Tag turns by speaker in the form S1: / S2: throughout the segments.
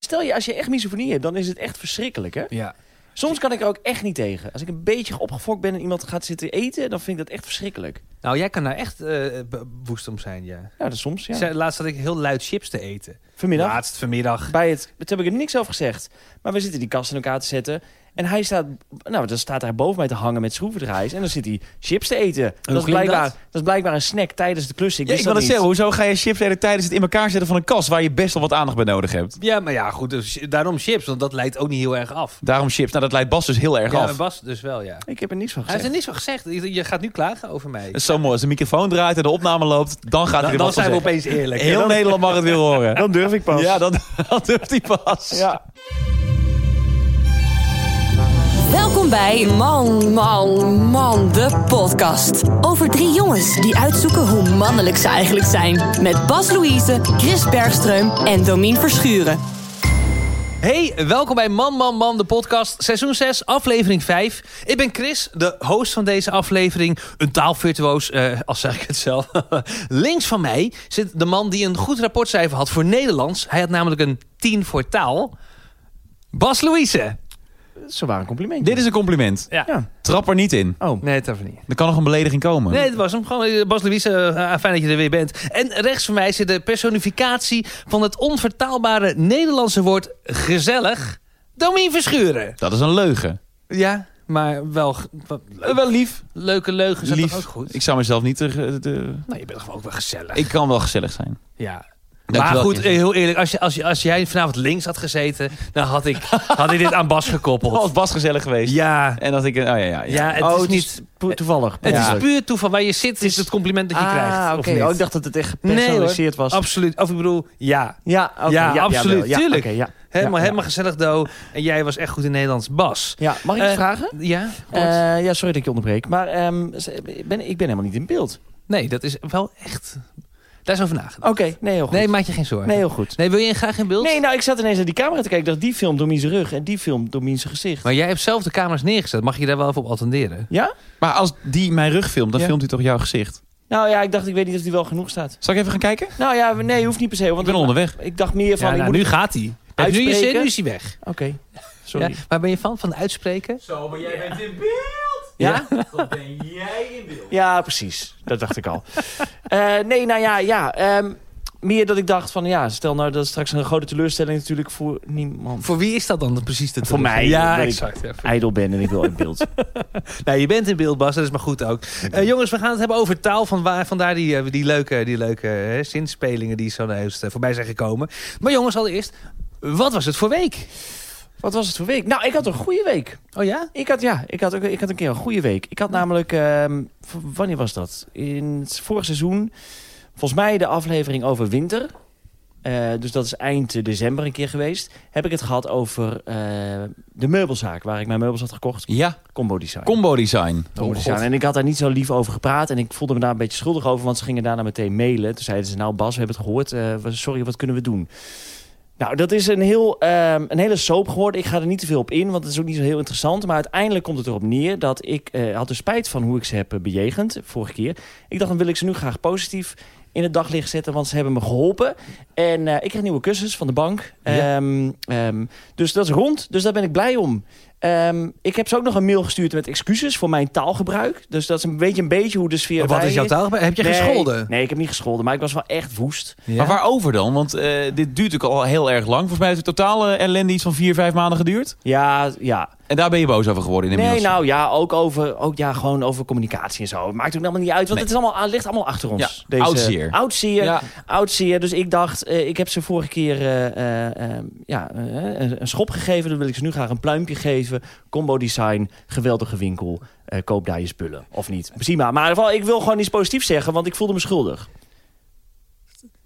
S1: Stel je, als je echt misofonie hebt, dan is het echt verschrikkelijk, hè?
S2: Ja.
S1: Soms kan ik er ook echt niet tegen. Als ik een beetje opgefokt ben en iemand gaat zitten eten, dan vind ik dat echt verschrikkelijk.
S2: Nou, jij kan daar echt eh, b- woest om zijn, ja.
S1: Ja, dat is soms, ja.
S2: Zij- Laatst zat ik heel luid chips te eten.
S1: Vanmiddag,
S2: Laatst vanmiddag.
S1: bij het, dat heb ik er niks over gezegd, maar we zitten die kast in elkaar te zetten. En hij staat, nou, dan staat hij boven mij te hangen met schroevendraaiers. En dan zit hij chips te eten. dat,
S3: hoe
S1: is
S3: ging
S1: blijkbaar,
S3: dat?
S1: dat? is blijkbaar een snack tijdens de klus. Ik
S3: Ja,
S1: wist
S3: ik wil
S1: dat
S3: het
S1: niet.
S3: zeggen, hoezo ga je chips eten tijdens het in elkaar zetten van een kas waar je best wel wat aandacht bij nodig hebt?
S2: Ja, maar ja, goed. Dus, daarom chips, want dat leidt ook niet heel erg af.
S3: Daarom chips. Nou, dat leidt Bas dus heel erg
S2: ja,
S3: af.
S2: maar Bas dus wel, ja.
S1: Ik heb er niks van
S2: Hij heeft
S1: gezegd.
S2: er niks van gezegd. Je je gaat nu klagen over mij.
S3: Het is zo mooi. Als de microfoon draait en de opname loopt, dan gaat hij
S2: Dan,
S3: er
S2: dan
S3: wat van
S2: zijn we
S3: zeggen.
S2: opeens eerlijk.
S3: Heel Nederland mag het weer horen.
S1: Dan durf ik pas.
S3: Ja, dan, dan durft hij pas.
S1: Ja.
S4: Welkom bij Man, Man, Man, de podcast. Over drie jongens die uitzoeken hoe mannelijk ze eigenlijk zijn. Met Bas Louise, Chris Bergström en Domien Verschuren.
S2: Hey, welkom bij Man, Man, Man, de podcast. Seizoen 6, aflevering 5. Ik ben Chris, de host van deze aflevering. Een taalvirtuoos, eh al zeg ik het zelf. Links van mij zit de man die een goed rapportcijfer had voor Nederlands. Hij had namelijk een 10 voor taal. Bas Louise.
S1: Dat is zowaar een compliment.
S3: Dit is een compliment.
S2: Ja.
S1: Ja.
S3: Trap er niet in.
S1: Oh,
S2: Nee, dat even niet.
S3: Er kan nog een belediging komen.
S2: Nee, het was hem. Gewoon eh, Bas Louise, eh, ah, fijn dat je er weer bent. En rechts van mij zit de personificatie van het onvertaalbare Nederlandse woord gezellig. Domien Verschuren.
S3: Dat is een leugen.
S2: Ja, maar wel... ge- wel-
S3: Eh, wel lief.
S2: Leuke leugens zijn
S3: lief.
S2: toch ook goed?
S3: Ik zou mezelf niet... te- ge- te-
S2: nou, je bent gewoon ook wel gezellig.
S3: Ik kan wel gezellig zijn.
S2: ja.
S3: Dankjewel,
S2: maar goed,
S3: Chris.
S2: eh, heel eerlijk, als, je, als, je, als jij vanavond links had gezeten, dan had ik, had ik dit aan Bas
S3: Al was
S2: gekoppeld.
S3: Bas gezellig geweest.
S2: Ja,
S3: En dat ik... eh, Oh ja, ja, ja.
S2: ja Oh, het
S1: Oh,
S2: is
S1: het
S2: niet...
S1: is po- toevallig.
S2: Het
S1: Ja.
S2: is puur toeval. Waar je zit is het compliment dat je krijgt.
S1: Ah,
S2: of
S1: oké.
S2: niet?
S1: Oh, ik dacht dat het echt gepersonaliseerd was.
S2: Absoluut. Of ik bedoel, ja.
S1: ja, oké,
S2: Ja,
S1: jawel,
S2: absoluut,
S1: Ja,
S2: tuurlijk.
S1: oké, ja.
S2: Helemaal,
S1: Ja,
S2: helemaal gezellig, Do. En jij was echt goed in Nederlands. Bas.
S1: Ja, mag ik iets
S2: Eh,
S1: vragen?
S2: Ja? kort?
S1: Eh, ja, sorry dat ik je onderbreek. Maar ehm, z- ik ben, ik ben helemaal niet in beeld.
S2: nee, dat is wel echt... Daar is over nagedacht.
S1: Oké, nee, heel Oh, goed.
S2: Nee, maak je geen zorgen.
S1: Nee, heel goed.
S2: Nee, wil je graag in beeld?
S1: Nee, nou, ik zat ineens naar die camera te kijken. Ik dacht, die film door zijn rug en die film door zijn gezicht.
S2: Maar jij hebt zelf de camera's neergezet. Mag je daar wel even op attenderen?
S1: Ja?
S3: Maar als die mijn rug filmt, dan
S1: Ja.
S3: filmt hij toch jouw gezicht?
S1: Nou ja, ik dacht, ik weet niet of die wel genoeg staat.
S3: Zal ik even gaan kijken?
S1: Nou ja, nee, hoeft niet per se.
S3: Ik
S1: Want
S3: ben onderweg.
S1: ik dacht meer van,
S2: Ja,
S1: ik
S2: nou,
S1: moet...
S2: nu gaat hij. Kijk, Nu, je
S1: Uitspreken.
S2: zit, nu is hij weg.
S1: Oké, sorry.
S2: Ja, waar ben je van? Van uitspreken?
S5: Zo, maar jij bent in beeld!
S1: Ja? ja?
S5: Wat ben jij in beeld?
S1: precies. Dat dacht ik al. Eh, nee, nou ja, ja. ehm, meer dat ik dacht van, ja, stel nou dat is straks een grote teleurstelling natuurlijk voor niemand.
S2: Voor wie is dat dan precies de
S1: Voor mij,
S2: Ja,
S1: weet ik.
S2: exact. ja.
S1: ijdel ben en ik wil in beeld.
S2: Nou, je bent in beeld, Bas. Dat is maar goed ook. Eh, jongens, we gaan het hebben over taal. Van waar, vandaar die, eh, die leuke, die leuke hè, zinspelingen die zo nou eerst, eh, voorbij zijn gekomen. Maar jongens, allereerst, wat was het voor week?
S1: Wat was het voor week? Nou, ik had een goede week.
S2: Oh ja?
S1: Ik had, ja, ik had, ook, ik had een keer een goede week. Ik had namelijk, ehm, v- wanneer was dat? In het vorig seizoen, volgens mij de aflevering over winter. Eh, dus dat is eind eh, december een keer geweest. Heb ik het gehad over eh, de meubelzaak waar ik mijn meubels had gekocht.
S3: Ja,
S1: Combo Design.
S3: combo design.
S1: Combo Design. En ik had daar niet zo lief over gepraat. En ik voelde me daar een beetje schuldig over. Want ze gingen daarna meteen mailen. Toen zeiden ze, nou Bas, we hebben het gehoord. Eh, we- sorry, wat kunnen we doen? Nou, dat is een, heel, ehm, een hele soap geworden. Ik ga er niet te veel op in, want het is ook niet zo heel interessant. Maar uiteindelijk komt het erop neer dat ik eh, had er spijt van hoe ik ze heb eh, bejegend vorige keer. Ik dacht, dan wil ik ze nu graag positief in het daglicht zetten, want ze hebben me geholpen. En eh, ik kreeg nieuwe kussens van de bank.
S2: Ja.
S1: Ehm, ehm, dus dat is rond, dus daar ben ik blij om. Ehm, ik heb ze ook nog een mail gestuurd met excuses voor mijn taalgebruik. Dus dat is een beetje, een beetje hoe de sfeer
S2: wat
S1: erbij
S2: is jouw taal? Heb je
S1: Nee,
S2: gescholden?
S1: Nee, ik heb niet gescholden, maar ik was wel echt woest.
S2: Ja?
S3: Maar waarover dan? Want eh, dit duurt ook al heel erg lang. Volgens mij heeft de totale ellende iets van vier, vijf maanden geduurd.
S1: Ja, ja.
S3: En daar ben je boos over geworden
S1: Nee,
S3: inmiddels.
S1: nou ja, ook over, ook, ja, gewoon over communicatie en zo. Maakt ook helemaal niet uit, want
S3: Nee.
S1: het is allemaal, ligt allemaal achter ons.
S3: Ja, oudzeer.
S1: Oudzeer,
S3: Ja.
S1: oudzeer. Dus ik dacht, eh, ik heb ze vorige keer eh, eh, eh, ja, eh, een, een schop gegeven. Dan wil ik ze nu graag een pluimpje geven. Combo design, geweldige winkel. Eh, koop daar je spullen, of niet. Zie maar. Maar in ieder geval, ik wil gewoon iets positiefs zeggen, want ik voelde me schuldig.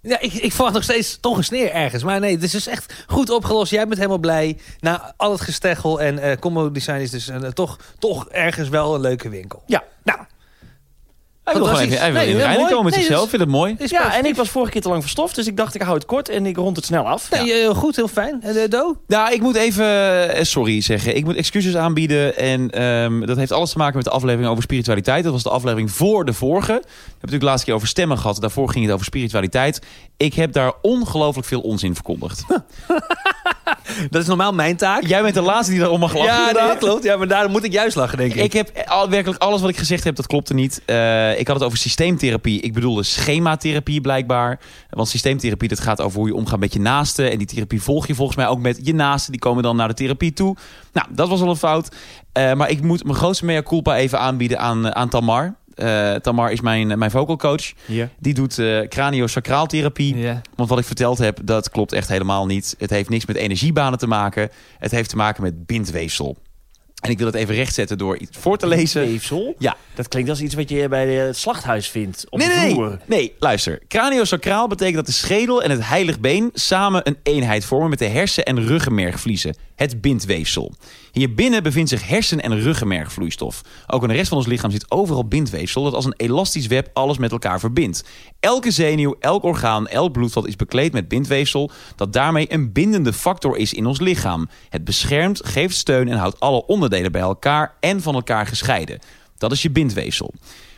S2: Ja, ik, ik verwacht nog steeds toch een sneer ergens. Maar nee, dit is dus echt goed opgelost. Jij bent helemaal blij. Na al het gesteggel en eh combo design is dus een, eh, toch, toch ergens wel een leuke winkel.
S1: Ja,
S2: Nou,
S3: Hij wil gewoon
S2: fantastisch.
S3: even, hij wil
S2: Nee,
S3: in
S2: heel
S3: het einde
S2: mooi.
S3: komen met
S2: Nee,
S3: zichzelf.
S2: dus-
S3: Vind het mooi.
S2: is
S1: ja
S2: positief.
S1: en ik was vorige keer te lang verstopt, dus ik dacht, ik hou het kort en ik rond het snel af.
S2: Nee,
S1: Ja.
S2: eh, heel goed, heel fijn. En eh, Do?
S3: Nou, ik moet even eh, sorry zeggen. Ik moet excuses aanbieden. En ehm, dat heeft alles te maken met de aflevering over spiritualiteit. Dat was de aflevering voor de vorige. We hebben natuurlijk de laatste keer over stemmen gehad. Daarvoor ging het over spiritualiteit. Ik heb daar ongelooflijk veel onzin verkondigd.
S2: Dat is normaal mijn taak.
S3: Jij bent de laatste die daarom mag lachen.
S2: ja, nee,
S3: inderdaad.
S2: dat klopt. Ja, maar daarom moet ik juist lachen, denk ik.
S3: Ik heb al, werkelijk alles wat ik gezegd heb, dat klopte niet. Eh, ik had het over systeemtherapie. Ik bedoelde schematherapie blijkbaar. Want systeemtherapie, dat gaat over hoe je omgaat met je naasten. En die therapie volg je volgens mij ook met je naasten. Die komen dan naar de therapie toe. Nou, dat was al een fout. Eh, maar ik moet mijn grootste mea culpa even aanbieden aan, eh, aan Tamar. Eh, Tamar is mijn, mijn vocal coach.
S1: Hier.
S3: Die doet eh craniosacraal therapie.
S2: Ja.
S3: Want wat ik verteld heb, dat klopt echt helemaal niet. Het heeft niks met energiebanen te maken. Het heeft te maken met bindweefsel. En ik wil het even rechtzetten door iets voor te lezen.
S1: Weefsel?
S3: Ja.
S1: Dat klinkt als iets wat je bij het slachthuis vindt. Op
S3: Nee,
S1: de
S3: nee,
S1: vloer.
S3: nee. Nee, luister. Craniosacraal betekent dat de schedel en het heiligbeen samen een eenheid vormen met de hersen- en ruggenmergvliezen. Het bindweefsel. Hierbinnen bevindt zich hersen- en ruggenmergvloeistof. Ook in de rest van ons lichaam zit overal bindweefsel dat als een elastisch web alles met elkaar verbindt. Elke zenuw, elk orgaan, elk bloedvat is bekleed met bindweefsel dat daarmee een bindende factor is in ons lichaam. Het beschermt, geeft steun en houdt alle onderdelen bij elkaar en van elkaar gescheiden. Dat is je bindweefsel.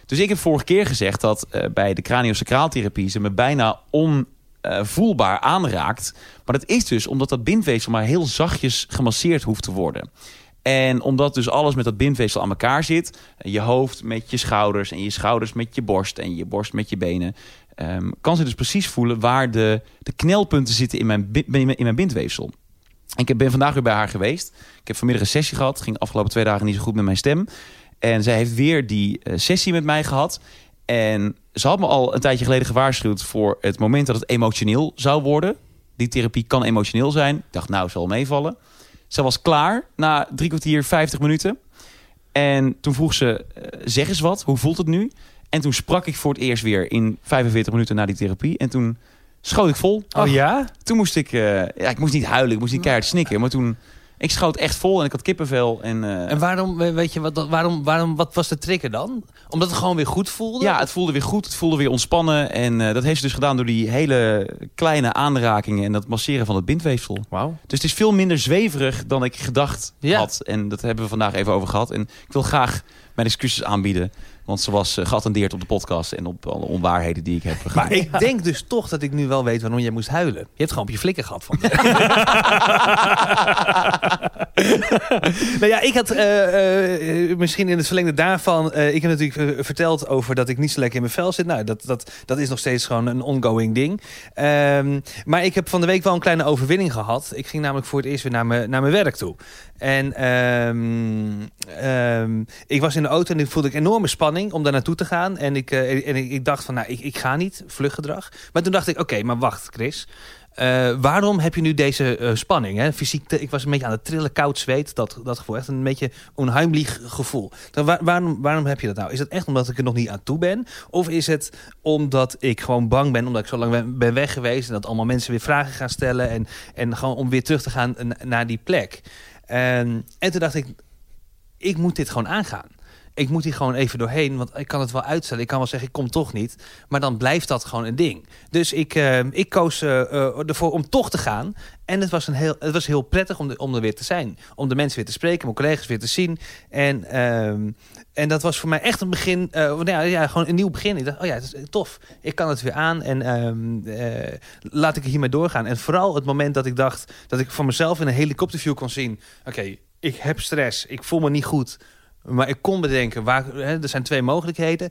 S3: Dus ik heb vorige keer gezegd dat eh, bij de craniosacraaltherapie ze me bijna onvoelbaar aanraakt. Maar dat is dus omdat dat bindweefsel maar heel zachtjes gemasseerd hoeft te worden. En omdat dus alles met dat bindweefsel aan elkaar zit, eh, je hoofd met je schouders en je schouders met je borst en je borst met je benen, ehm, kan ze dus precies voelen waar de, de knelpunten zitten in mijn, bi- in mijn- in mijn bindweefsel. En Ik ben vandaag weer bij haar geweest. Ik heb vanmiddag een sessie gehad. Ging de afgelopen twee dagen niet zo goed met mijn stem. En zij heeft weer die eh, sessie met mij gehad. En ze had me al een tijdje geleden gewaarschuwd voor het moment dat het emotioneel zou worden. Die therapie kan emotioneel zijn. Ik dacht, nou, zal wel meevallen. Ze was klaar na drie kwartier, vijftig minuten. En toen vroeg ze, eh, zeg eens wat, hoe voelt het nu? En toen sprak ik voor het eerst weer in 45 minuten na die therapie. En toen schoot ik vol.
S2: Oh ja?
S3: Toen moest ik, eh, ja, ik moest niet huilen, ik moest niet keihard snikken. Maar toen, ik schoot echt vol en ik had kippenvel. En, eh,
S2: En waarom, eh, weet je, wat, dat- waarom, waarom, wat was de trigger dan? Omdat het gewoon weer goed voelde?
S3: ja, het voelde weer goed, het voelde weer ontspannen. En eh, dat heeft ze dus gedaan door die hele kleine aanrakingen en dat masseren van het bindweefsel.
S1: Wauw.
S3: Dus het is veel minder zweverig dan ik gedacht
S2: Ja.
S3: had. En dat hebben we vandaag even over gehad. En ik wil graag mijn excuses aanbieden. Want ze was eh, geattendeerd op de podcast en op alle onwaarheden die ik heb gedaan.
S2: Maar ik denk dus toch dat ik nu wel weet waarom jij moest huilen. Je hebt gewoon op je flikker gehad van. nou ja, ik had eh, eh, misschien in het verlengde daarvan. eh, ik heb natuurlijk eh, verteld over dat ik niet zo lekker in mijn vel zit. Nou, dat, dat, dat is nog steeds gewoon een ongoing ding. Ehm, maar ik heb van de week wel een kleine overwinning gehad. Ik ging namelijk voor het eerst weer naar mijn, naar mijn werk toe. En ehm, ehm, ik was in de auto en ik voelde ik enorme spanning om daar naartoe te gaan. En ik, eh, en ik, ik dacht van, nou, ik, ik ga niet, vluchtgedrag. Maar toen dacht ik, oké, maar wacht, Chris. Eh, waarom heb je nu deze eh, spanning? Hè? Fysiek, te- ik was een beetje aan het trillen, koud zweet, dat, dat gevoel. Echt een beetje onheimlich gevoel. Dan, waar- waarom, waarom heb je dat nou? Is dat echt omdat ik er nog niet aan toe ben? Of is het omdat ik gewoon bang ben, omdat ik zo lang ben, ben weg geweest... en dat allemaal mensen weer vragen gaan stellen... en, en gewoon om weer terug te gaan na- naar die plek? En, en toen dacht ik, ik moet dit gewoon aangaan. Ik moet hier gewoon even doorheen, want ik kan het wel uitstellen. Ik kan wel zeggen, ik kom toch niet. Maar dan blijft dat gewoon een ding. Dus ik, eh, ik koos eh, eh, ervoor om toch te gaan. En het was, een heel, het was heel prettig om, de- om er weer te zijn. Om de mensen weer te spreken, mijn collega's weer te zien. En, ehm, en dat was voor mij echt een begin. eh, nou ja, ja, gewoon een nieuw begin. Ik dacht, oh ja, het is tof. Ik kan het weer aan. En ehm, eh, laat ik hiermee doorgaan. En vooral het moment dat ik dacht dat ik voor mezelf in een helikopterview kon zien. Oké, ik heb stress. Ik voel me niet goed. Maar ik kon bedenken, waar, hè, er zijn twee mogelijkheden.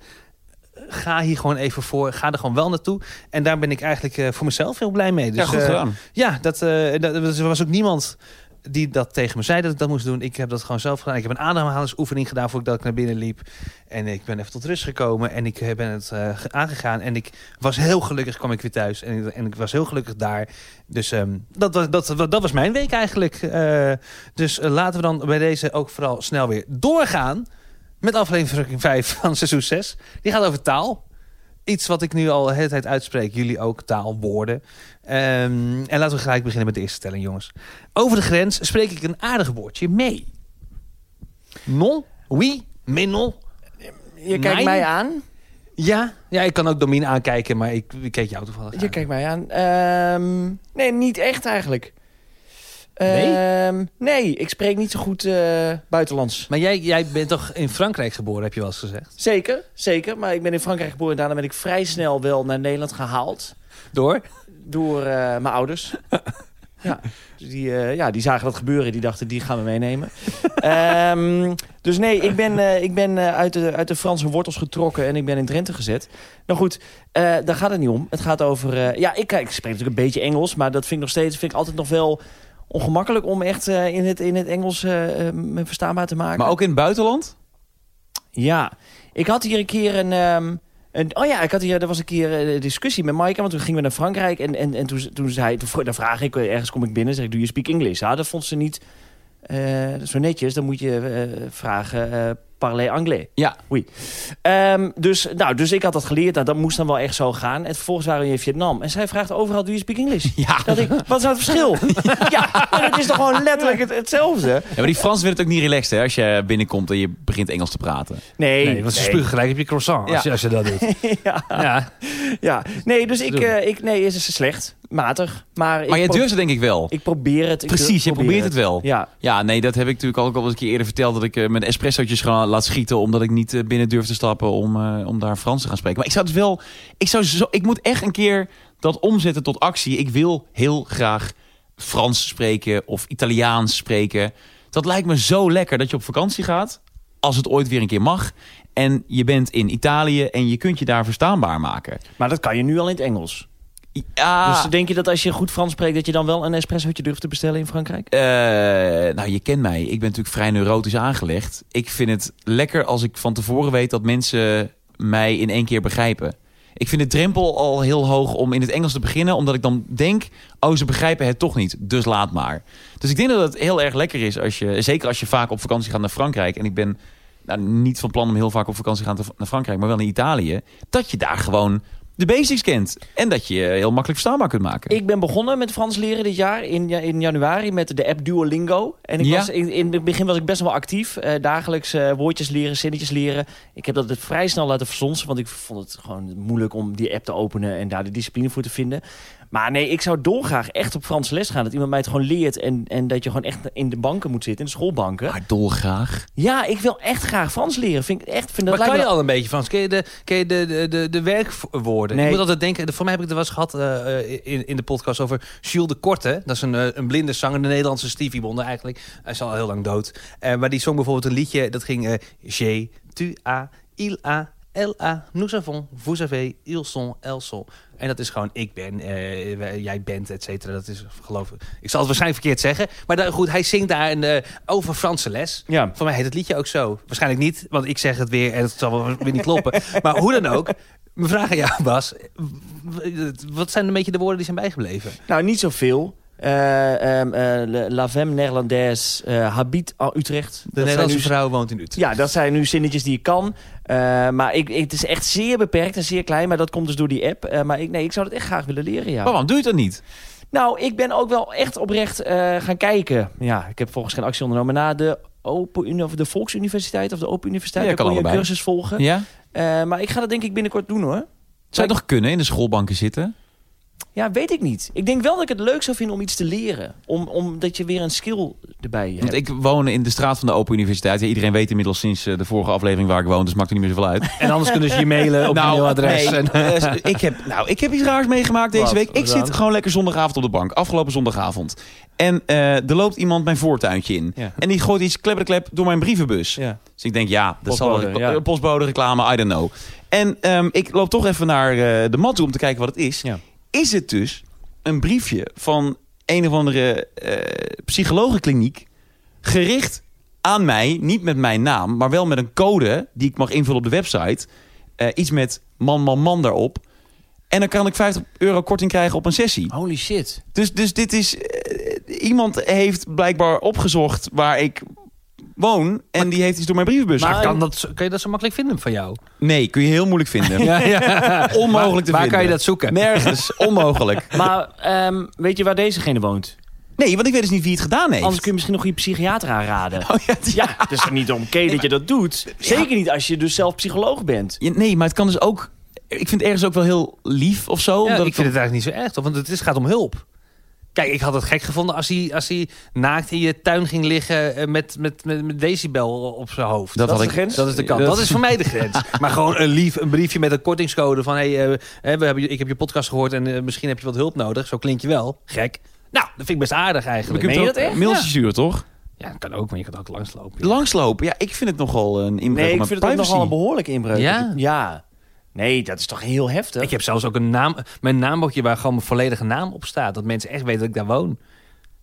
S2: Ga hier gewoon even voor. Ga er gewoon wel naartoe. En daar ben ik eigenlijk eh, voor mezelf heel blij mee. Dus,
S3: ja, goed
S2: eh,
S3: gedaan.
S2: ja, dat, eh, dat, er was ook niemand die dat tegen me zei dat ik dat moest doen. Ik heb dat gewoon zelf gedaan. Ik heb een ademhalingsoefening gedaan voordat ik naar binnen liep. En ik ben even tot rust gekomen en ik eh, ben het eh, ge- aangegaan. En ik was heel gelukkig, kwam ik weer thuis. En, ik- en ik was heel gelukkig daar. Dus ehm, dat, was, dat, dat, dat was mijn week eigenlijk. Eh, dus eh, laten we dan bij deze ook vooral snel weer doorgaan... met aflevering 5 van seizoen 6. Die gaat over taal. Iets wat ik nu al de hele tijd uitspreek. Jullie ook, taal, woorden. Ehm, en laten we gelijk beginnen met de eerste stelling, jongens. Over de grens spreek ik een aardig woordje mee. Non, oui, mais non.
S1: Je kijkt
S2: Nee.
S1: mij aan.
S2: Ja, ja ik kan ook Domien aankijken, maar ik, ik keek jou toevallig
S1: Je
S2: aan.
S1: kijkt mij aan. Ehm, nee, niet echt eigenlijk.
S2: Nee?
S1: Ehm, nee, ik spreek niet zo goed eh, buitenlands.
S2: Maar jij, jij bent toch in Frankrijk geboren, heb je wel eens gezegd?
S1: Zeker, zeker. Maar ik ben in Frankrijk geboren en daarna ben ik vrij snel wel naar Nederland gehaald.
S2: Door?
S1: Door eh, mijn ouders. Ja. Dus die, eh, ja, die zagen dat gebeuren. Die dachten, die gaan we meenemen. Ehm, dus nee, ik ben, eh, ik ben eh, uit, de, uit de Franse wortels getrokken en ik ben in Drenthe gezet. Nou goed, eh, daar gaat het niet om. Het gaat over... eh, ja, ik, kijk, ik spreek natuurlijk een beetje Engels, maar dat vind ik nog steeds... vind ik altijd nog wel ongemakkelijk om echt eh, in, het, in het Engels eh, eh, me verstaanbaar te maken.
S3: Maar ook in het buitenland?
S1: Ja, ik had hier een keer een... ehm, een oh ja, ik had hier, er was een keer eh, een discussie met Maaike, want toen gingen we naar Frankrijk. En, en, en toen, ze- toen zei toen, vro- dan vraag ik, eh, ergens kom ik binnen, zeg ik, doe je speak English? Ja, dat vond ze niet eh, zo netjes. Dan moet je eh, vragen, eh parlez anglais.
S3: Ja.
S1: Oui. Ehm, dus, nou, dus ik had dat geleerd, nou, dat moest dan wel echt zo gaan. En vervolgens waren we in Vietnam. En zij vraagt overal, do you speak English?
S3: Ja.
S1: Dat ik, wat is nou het verschil? ja, maar het is toch gewoon letterlijk het, hetzelfde?
S3: Ja, maar die Fransen vinden het ook niet relaxed hè, als je binnenkomt en je begint Engels te praten.
S1: Nee,
S2: Nee, want ze spugen gelijk op je croissant als,
S3: Ja.
S2: je, als je dat doet.
S1: Ja.
S2: Ja.
S1: Ja, nee, dus ik,
S2: doen.
S1: eh, ik nee, het is slecht, matig, maar,
S3: Maar
S1: ik,
S3: jij
S1: pro-
S3: durft het denk ik wel.
S1: ik probeer het. Ik
S3: Precies,
S1: durf-
S3: je
S1: probeer
S3: probeert het wel.
S1: Ja,
S3: Ja, nee, dat heb ik natuurlijk ook al eens een keer eerder verteld. Dat ik eh, mijn espressootjes gewoon laat schieten. Omdat ik niet eh, binnen durf te stappen om, eh, om daar Frans te gaan spreken. Maar ik zou het wel. Ik, zou zo, ik moet echt een keer dat omzetten tot actie. Ik wil heel graag Frans spreken of Italiaans spreken. Dat lijkt me zo lekker dat je op vakantie gaat. Als het ooit weer een keer mag. En je bent in Italië en je kunt je daar verstaanbaar maken.
S1: maar dat kan je nu al in het Engels.
S3: Ja,
S1: Dus denk je dat als je goed Frans spreekt, dat je dan wel een espressootje durft te bestellen in Frankrijk?
S3: Eh, nou, je kent mij. Ik ben natuurlijk vrij neurotisch aangelegd. Ik vind het lekker als ik van tevoren weet dat mensen mij in één keer begrijpen. Ik vind de drempel al heel hoog om in het Engels te beginnen, omdat ik dan denk: oh, ze begrijpen het toch niet, dus laat maar. Dus ik denk dat het heel erg lekker is als je, zeker als je vaak op vakantie gaat naar Frankrijk. En ik ben nou, niet van plan om heel vaak op vakantie te gaan te- naar Frankrijk, maar wel naar Italië. Dat je daar gewoon de basics kent en dat je je heel makkelijk verstaanbaar kunt maken.
S1: Ik ben begonnen met Frans leren dit jaar in, ja- in januari met de app Duolingo. En ik
S3: Ja.
S1: was, in, in het begin was ik best wel actief. eh, dagelijks eh, woordjes leren, zinnetjes leren. Ik heb dat het vrij snel laten versonsen, want ik vond het gewoon moeilijk om die app te openen en daar de discipline voor te vinden. Maar nee, ik zou dolgraag echt op Frans les gaan. Dat iemand mij het gewoon leert en, en dat je gewoon echt in de banken moet zitten, in de schoolbanken.
S3: Maar dolgraag.
S1: Ja, ik wil echt graag Frans leren. Vind ik echt, vind dat
S2: maar kan
S1: lijkt
S2: je
S1: me-
S2: al een beetje van? Ken je de, ken je de, de, de, de werkwoorden?
S1: Nee.
S2: Ik moet altijd denken, voor mij heb ik het wel eens gehad eh, eh, in, in de podcast over Jules de Korte. Dat is een, eh, een blinde zanger, de Nederlandse Stevie Wonder eigenlijk. Hij is al heel lang dood. Eh, maar die zong bijvoorbeeld een liedje, dat ging... eh J'ai, tu a, il a, elle a, nous avons, vous avez, ils sont, elles sont. En dat is gewoon ik ben, eh, wij- jij bent, et cetera. Dat is geloof ik. Ik zal het waarschijnlijk verkeerd zeggen. Maar daar- goed, hij zingt daar een, eh, over Franse les.
S1: Ja.
S2: Voor mij heet het liedje ook zo. Waarschijnlijk niet, want ik zeg het weer en het zal wel weer niet kloppen. maar hoe dan ook, mijn vraag aan jou Bas. w- Wat zijn een beetje de woorden die zijn bijgebleven?
S1: Nou, niet zoveel. Eh, ehm, eh, la- la femme Nederlandaise eh, habite en Utrecht.
S2: De
S1: zijn
S2: Nederlandse
S1: nu-
S2: vrouw woont in Utrecht.
S1: Ja, dat zijn nu zinnetjes die ik kan. Eh, maar ik, ik- het is echt zeer beperkt en zeer klein. Maar dat komt dus door die app. Eh, maar ik, nee, ik zou dat echt graag willen leren, ja.
S3: Maar waarom doe je dat niet?
S1: Nou, ik ben ook wel echt oprecht eh, gaan kijken. Ja, ik heb volgens geen actie ondernomen. Na de, open, Uni- of de Volksuniversiteit of de Open Universiteit...
S3: Ja,
S1: daar
S3: kan
S1: kon je een
S3: allebei.
S1: cursus volgen.
S3: Ja?
S1: Eh, maar ik ga dat denk ik binnenkort doen, hoor.
S3: Zou je toch kunnen in de schoolbanken zitten?
S1: Ja, weet ik niet. Ik denk wel dat ik het leuk zou vinden om iets te leren. Om, om dat je weer een skill erbij hebt.
S3: Want ik woon in de straat van de Open Universiteit. Ja, iedereen weet inmiddels sinds eh, de vorige aflevering waar ik woon, dus maakt er niet meer zoveel uit.
S2: En anders kunnen ze je mailen op je mailadres.
S3: nee.
S2: En,
S3: Eh, ik, heb, nou, ik heb iets raars meegemaakt deze
S2: Wat
S3: week. Ik
S2: dan?
S3: zit gewoon lekker zondagavond op de bank. Afgelopen zondagavond. En eh, er loopt iemand mijn voortuintje in.
S1: Ja.
S3: En die gooit iets klep door mijn brievenbus.
S1: Ja.
S3: Dus ik denk, ja, dat zal
S1: Postbode,
S3: wel
S1: ja.
S3: eh, postbode reclame, I don't know. En ehm, ik loop toch even naar eh, de mat toe om te kijken wat het is.
S1: Ja.
S3: Is het dus een briefje van een of andere eh, psychologenkliniek gericht aan mij, niet met mijn naam, maar wel met een code die ik mag invullen op de website. Eh, iets met man, man, man daarop. En dan kan ik 50 euro korting krijgen op een sessie.
S1: Holy shit.
S3: Dus, dus dit is. eh, iemand heeft blijkbaar opgezocht waar ik woon. En die heeft iets door mijn brievenbus.
S2: maar
S3: gegaan.
S2: kan, dat, zo- kan je dat zo makkelijk vinden van jou?
S3: Nee, kun je heel moeilijk vinden. Onmogelijk
S2: Waar-
S3: te
S2: Waar
S3: vinden.
S2: kan je dat zoeken?
S3: Nergens. Onmogelijk.
S1: Maar ehm, weet je waar dezegene woont?
S3: Nee, want ik weet dus niet wie het gedaan heeft.
S1: Anders kun je misschien nog je psychiater aanraden.
S3: Oh, ja, die-
S1: Ja, het is er niet oké dat je dat doet. Zeker niet als je dus zelf psycholoog bent.
S3: Ja, nee, maar het kan dus ook. Ik vind het ergens ook wel heel lief of zo.
S2: Ja,
S3: omdat
S2: ik vind het eigenlijk niet zo erg, toch? want het is, gaat om hulp. Kijk, ik had het gek gevonden als hij, als hij naakt in je tuin ging liggen eh, met, met, met, met decibel op zijn hoofd.
S3: Dat
S1: Dat is
S3: had
S1: de
S3: ik-
S1: grens.
S2: Dat is de kant. Dat, is voor mij de grens. maar gewoon een, lief, een briefje met een kortingscode van... Hey, eh, hè, we hebben, je- ik heb je podcast gehoord en eh, misschien heb je wat hulp nodig. Zo klink je wel. Gek. Nou, dat vind ik best aardig eigenlijk.
S3: kunt
S2: Meen je
S3: ook
S2: dat echt?
S3: Mailtjes
S2: Ja.
S3: sturen, toch?
S2: Ja, dat kan ook, maar je kan ook langslopen. ja.
S3: Langslopen. Ja, ik vind het nogal een inbreuk
S1: Nee,
S3: op
S1: ik
S3: mijn
S1: vind het ook
S3: privacy.
S1: nogal een behoorlijke inbreuk.
S2: Ja?
S1: ja. Nee, dat is toch heel heftig?
S2: Ik heb zelfs ook een naam, mijn naambordje waar gewoon mijn volledige naam op staat. Dat mensen echt weten dat ik daar woon.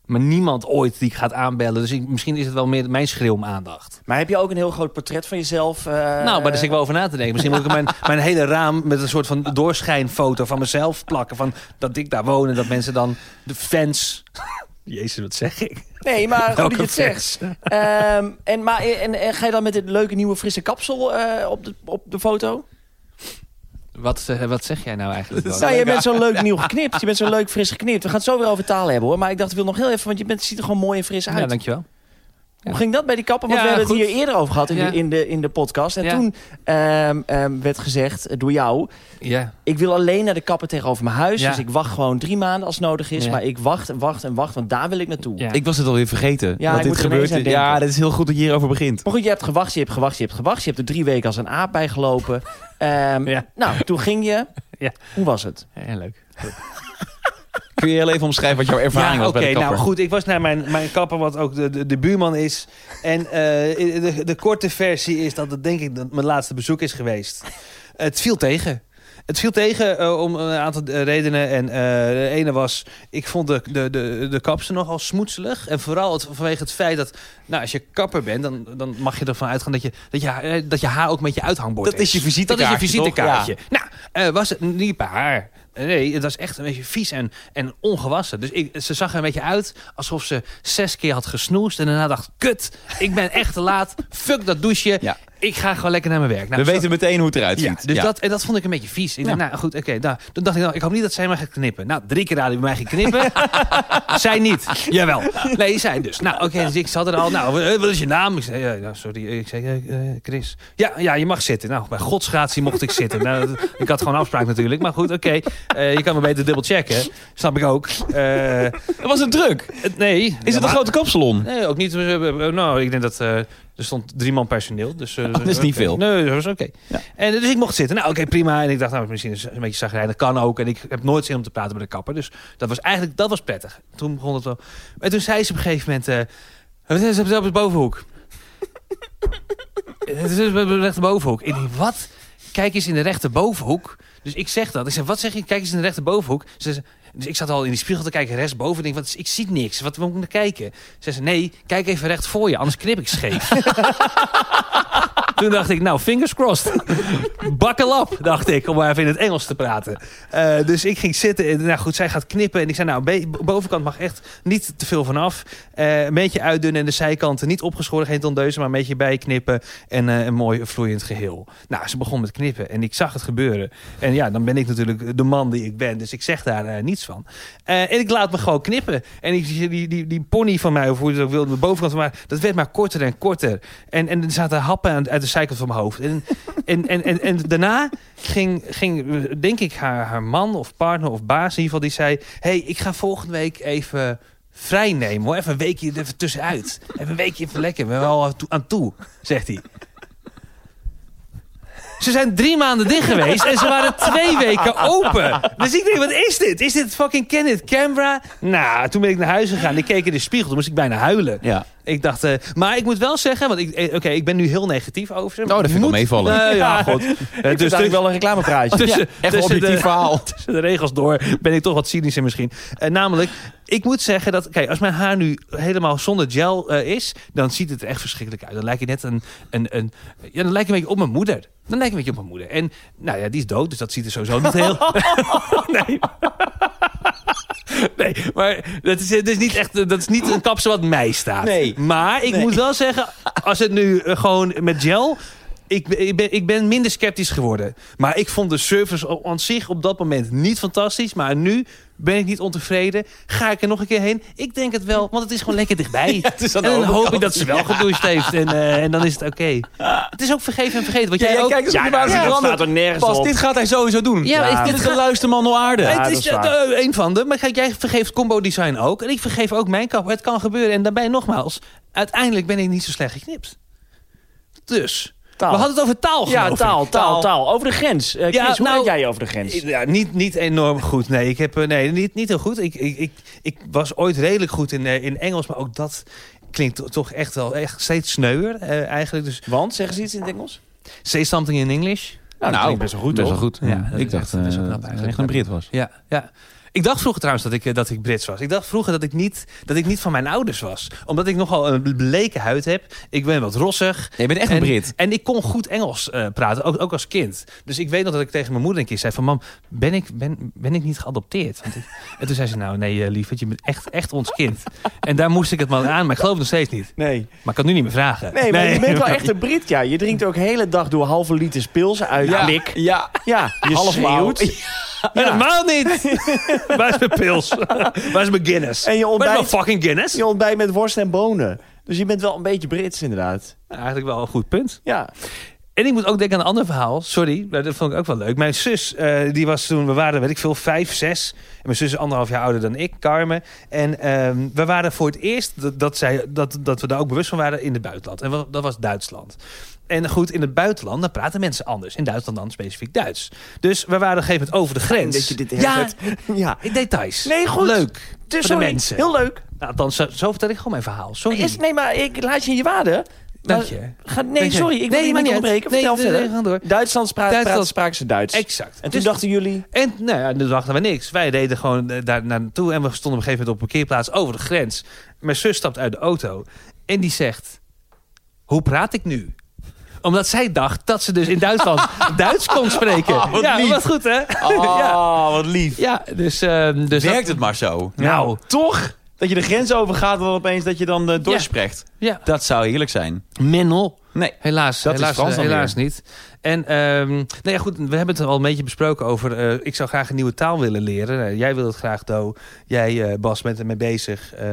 S2: Maar niemand ooit die ik gaat aanbellen. Dus ik, misschien is het wel meer mijn schreeuw om aandacht.
S1: Maar heb je ook een heel groot portret van jezelf? eh,
S2: nou, maar daar zit ik wel over na te denken. Misschien moet ik mijn, mijn hele raam met een soort van doorschijnfoto van mezelf plakken. Van dat ik daar woon en dat mensen dan de fans... Jezus, wat zeg ik?
S1: Nee, maar goed dat
S2: Welke
S1: je het zegt. Ehm, en, maar, en, en ga je dan met dit leuke nieuwe frisse kapsel eh, op, de, op de foto?
S2: Wat, eh, wat zeg jij nou eigenlijk? Bas?
S1: Nou, je bent zo leuk nieuw geknipt. Je bent zo leuk fris geknipt. We gaan het zo weer over taal hebben hoor. Maar ik dacht, ik wil nog heel even, want je bent, ziet er gewoon mooi en fris uit.
S2: Ja, dankjewel.
S1: Hoe ging dat bij die kapper? Want
S2: Ja,
S1: we hebben
S2: goed.
S1: het hier eerder over gehad in,
S2: Ja.
S1: de, in, de, in de podcast. En
S2: Ja.
S1: toen ehm, ehm, werd gezegd eh, door jou...
S2: Ja.
S1: ik wil alleen naar de kapper tegenover mijn huis.
S2: Ja.
S1: Dus ik wacht gewoon drie maanden als nodig is.
S2: Ja.
S1: Maar ik wacht en wacht en wacht, want daar wil ik naartoe.
S2: Ja.
S3: Ik was het alweer vergeten.
S1: Ja, ik
S3: dat dit
S1: moet er
S3: gebeurt.
S1: ineens aan denken.
S3: Ja, dat is heel goed dat je hierover begint.
S1: Maar goed, je hebt gewacht, je hebt gewacht, je hebt gewacht. Je hebt er drie weken als een aap bij gelopen. Ehm,
S2: Ja.
S1: Nou, toen ging je.
S2: Ja.
S1: Hoe was het?
S2: ja, leuk.
S3: Kun je heel even omschrijven wat jouw ervaring
S2: ja,
S3: was
S2: oké.
S3: bij de kapper?
S2: nou goed, ik was naar mijn, mijn kapper, wat ook de, de, de buurman is. En eh, de, de korte versie is dat het denk ik dat mijn laatste bezoek is geweest. Het viel tegen. Het viel tegen eh, om een aantal eh, redenen. En eh, de ene was, ik vond de, de, de, de kapster nogal smoetselig. En vooral het, vanwege het feit dat, nou, als je kapper bent, dan, dan mag je ervan uitgaan dat je, dat, je, eh, dat je haar ook met je uithangbord
S3: Dat is je visitekaartje,
S2: Dat is je
S3: toch?
S2: visitekaartje. Nou, eh, was het niet bij haar. Eh, Nee, het was echt een beetje vies en, en ongewassen. Dus ik, ze zag er een beetje uit alsof ze zes keer had gesnoest. En daarna dacht, kut, ik ben echt te laat. Fuck dat douche.
S3: Ja.
S2: Ik ga gewoon lekker naar mijn werk. Nou,
S3: We
S2: zo-
S3: weten meteen hoe het eruit
S2: ja,
S3: ziet.
S2: dus
S3: Ja.
S2: Dat, en dat vond ik een beetje vies. Ik dacht, nou goed, oké. nou, toen dacht ik, nou, ik hoop niet dat zij mij gaat knippen. Nou, drie keer raden bij mij geknippen. zij niet. Jawel. Nee, zij dus. Nou, oké, dus ik zat er al. Nou, eh, wat is je naam? Ik zei, ja, nou, sorry. Ik zei, eh, eh, Chris. Ja, ja, je mag zitten. Nou, bij godsgratie mocht ik zitten. Nou, dat- ik had gewoon afspraak natuurlijk. Maar goed, oké. Eh, je kan me beter dubbel checken. Snap ik ook. Eh,
S3: Dat was het druk.
S2: het- nee.
S3: Is het een grote kapsalon?
S2: Nee, ook niet. eh, eh, eh, Nou, ik denk dat eh, er stond drie man personeel. Dus, eh,
S3: Oh, dat is
S2: oké.
S3: niet veel.
S2: Nee, dat was oké.
S3: Ja.
S2: En eh, Dus ik mocht zitten. Nou, oké, prima. En ik dacht, nou, misschien is het een beetje zagrijnig. Dat kan ook. En ik heb nooit zin om te praten met de kapper. Dus dat was eigenlijk dat was prettig. Toen begon het wel. En toen zei ze op een gegeven moment... eh, Wat is het op de bovenhoek? Het is op de rechterbovenhoek. Ik denk, wat? Kijk eens in de rechterbovenhoek. Dus ik zeg dat. Ik zeg, wat zeg je? Kijk eens in de rechterbovenhoek. Ze zei, dus ik zat al in die spiegel te kijken, rechtsboven. Ik denk, wat, is- ik zie niks. Wat moet ik naar kijken? Ze zei, nee, kijk even recht voor je, anders knip ik scheef. Toen dacht ik, nou, fingers crossed. Buckle up, dacht ik, om maar even in het Engels te praten. Eh, dus ik ging zitten. En, nou goed, zij gaat knippen. En ik zei, nou, be- bovenkant mag echt niet te veel vanaf. Eh een beetje uitdunnen en de zijkanten niet opgeschoren, geen tondeuzen, maar een beetje bijknippen. En eh, een mooi vloeiend geheel. Nou, ze begon met knippen en ik zag het gebeuren. En ja, dan ben ik natuurlijk de man die ik ben, dus ik zeg daar eh, niets van. Eh, en ik laat me gewoon knippen. En ik, die, die, die, die pony van mij, of hoe je het ook wilde, de bovenkant van mij, dat werd maar korter en korter. En, en er zaten happen aan- uit de zijkant van mijn hoofd. En, en, en, en, en daarna ging, ging eh, denk ik, haar, haar man of partner of baas in ieder geval, die zei: hey, ik ga volgende week even vrij nemen hoor. Even een weekje er even tussenuit. Even een weekje even lekker. We zijn wel aan toe- aan toe, zegt hij. Ze zijn drie maanden dicht geweest en ze waren twee weken open. Dus ik denk, wat is dit? Is dit fucking Kenneth Canberra? Nou, toen ben ik naar huis gegaan. Ik keek in de spiegel, toen moest ik bijna huilen.
S3: Ja.
S2: Ik dacht, eh, maar ik moet wel zeggen, want ik, eh, oké, ik ben nu heel negatief over ze.
S3: Nou, dat vind ik wel meevallen.
S2: Eh, ja, goed. Eh,
S1: Het is
S2: dus
S1: natuurlijk wel een reclamepraatje.
S2: tussen,
S3: Echt een
S2: tussen
S3: objectief
S2: de,
S3: verhaal.
S2: tussen de regels door ben ik toch wat cynischer misschien. Eh, namelijk, ik moet zeggen dat, kijk, als mijn haar nu helemaal zonder gel eh, is, dan ziet het er echt verschrikkelijk uit. Dan lijkt ik net een, een, een, ja, dan lijk ik een beetje op mijn moeder. Dan lijkt ik een beetje op mijn moeder. En nou ja, die is dood, dus dat ziet er sowieso niet heel. nee. Nee, maar dat is, dat is niet echt dat is niet een kapsel wat mij staat.
S3: Nee.
S2: Maar ik moet wel zeggen, als het nu eh, gewoon met gel... Ik, ben- ik, ben, ik ben minder sceptisch geworden. Maar ik vond de service o- aan zich op dat moment niet fantastisch. Maar nu ben ik niet ontevreden. Ga ik er nog een keer heen? Ik denk het wel, want het is gewoon lekker dichtbij.
S3: het is aan de
S2: en dan hoop ik
S3: overkant.
S2: dat ze wel gedoucht heeft. En, eh, en dan is het oké. Het is ook vergeven en vergeten. Want jij, ook...
S3: kijkt
S1: Ja, nou, dat staat er nergens
S3: Pas,
S1: op.
S3: dit gaat hij sowieso doen.
S2: Ja, maar is
S3: Dit
S2: dit-
S3: is de luisterman op aarde.
S1: Ja,
S2: het
S1: dat
S2: is
S1: is waar.
S2: eh, een van de. Maar kijk, jij vergeeft combo design ook. En ik vergeef ook mijn kap. Het kan gebeuren. En daarbij nogmaals, uiteindelijk ben ik niet zo slecht geknipt. Dus.
S1: Taal.
S2: We hadden het over taal,
S1: ja,
S2: geloof ik.
S1: taal, taal, taal. Over de grens. Eh,
S2: Ja,
S1: Chris, hoe
S2: nou-
S1: denk jij over de grens?
S2: Ja, niet, niet enorm goed. Nee, ik heb, eh, nee niet, niet heel goed. Ik, ik, ik, ik was ooit redelijk goed in, eh, in Engels, maar ook dat klinkt to- toch echt wel echt steeds sneuwer eh, eigenlijk. Dus
S1: Want, zeggen ze iets in het Engels?
S2: say something in English.
S1: Nou, dat klinkt best wel goed,
S3: Best
S1: toch?
S3: wel goed.
S2: Ja,
S3: Ja,
S2: dat
S3: ik
S2: is
S3: dacht
S2: echt-
S3: eh,
S2: dat is wel knap
S3: dat hij
S2: eigenlijk.
S3: echt een Brit was.
S2: Ja, ja. Ik dacht vroeger trouwens dat ik, eh, dat ik Brits was. Ik dacht vroeger dat ik, niet, dat ik niet van mijn ouders was. Omdat ik nogal een bleke huid heb. Ik ben wat rossig.
S3: je bent echt
S2: en,
S3: een Brit.
S2: En ik kon goed Engels eh, praten, ook, ook als kind. Dus ik weet nog dat ik tegen mijn moeder een keer zei van... Mam, ben ik, ben, ben ik niet geadopteerd? Want ik- en toen zei ze, nou nee lief, lieverd, je bent echt, echt ons kind. En daar moest ik het maar aan, maar ik geloof het nog steeds niet.
S1: Nee.
S2: Maar ik kan nu niet meer vragen.
S1: Nee, maar je bent wel echt een Brit, ja. Je drinkt ook hele dag door halve liters pils uit ja. blik.
S3: ja.
S1: Ja, je
S3: Half blauw.
S1: schreeuwt.
S2: Helemaal niet! Waar is mijn pils? Waar is mijn Guinness?
S1: En je
S2: Waar is
S1: ontbijt-
S2: mijn fucking Guinness?
S1: Je ontbijt met worst en bonen. Dus je bent wel een beetje Brits, inderdaad.
S2: Nou, Eigenlijk wel een goed punt.
S1: Ja.
S2: En ik moet ook denken aan een ander verhaal. Sorry, maar dat vond ik ook wel leuk. Mijn zus, eh, die was toen, we waren, weet ik veel, vijf, zes. En mijn zus is anderhalf jaar ouder dan ik, Carmen. En ehm, we waren voor het eerst, dat, dat, zij, dat, dat we daar ook bewust van waren, in het buitenland. En wa- dat was Duitsland. En goed, in het buitenland, dan praten mensen anders. In Duitsland dan specifiek Duits. Dus we waren op een gegeven moment over de grens.
S1: Dat je dit
S2: ja,
S1: herkent. Ja.
S2: details.
S1: Nee, goed.
S2: Leuk.
S1: Dus
S2: voor de
S1: sorry,
S2: mensen.
S1: Heel leuk.
S2: Nou, dan, zo, zo vertel ik gewoon mijn verhaal. Sorry.
S1: Is, nou nee, maar ik laat je in je waarde.
S2: Dank
S1: Maar-
S2: je.
S1: Ga, nee,
S2: Dank je.
S1: sorry. Ik wil
S2: Nee,
S1: nee,
S2: maar
S1: niet
S2: niet uit.
S1: onderbreken.
S2: Nee,
S1: Vertel
S2: nee,
S1: verder.
S2: nee, ga door.
S1: Duitsland, spra-
S2: Duitsland-
S1: praat- spraken ze Duits.
S2: Exact.
S1: En toen
S2: Dus-
S1: dachten jullie...
S2: En nou ja, toen dachten we niks. Wij reden gewoon eh, daar naartoe en we stonden op een gegeven moment op een parkeerplaats over de grens. Mijn zus stapt uit de auto en die zegt: Hoe praat ik nu? Omdat zij dacht dat ze dus in Duitsland Duits kon spreken.
S3: Oh, wat
S2: ja,
S3: lief.
S2: wat goed hè? ja.
S3: Oh, wat lief.
S2: ja, dus. ehm dus
S3: Werkt
S2: dat-
S3: het maar zo.
S2: Nou,
S3: Toch? Dat je de grens overgaat en dan opeens dat je dan eh, doorsprecht.
S2: ja.
S3: Dat zou heerlijk zijn.
S2: Mennel.
S3: Nee.
S2: Helaas,
S3: Dat is
S2: helaas,
S3: Frans
S2: eh,
S3: dan
S2: helaas niet. En ehm nou ja, goed, we hebben het al een beetje besproken over... eh, ik zou graag een nieuwe taal willen leren. Nou, jij wil het graag, Do. Jij, eh, Bas, bent ermee bezig. Eh,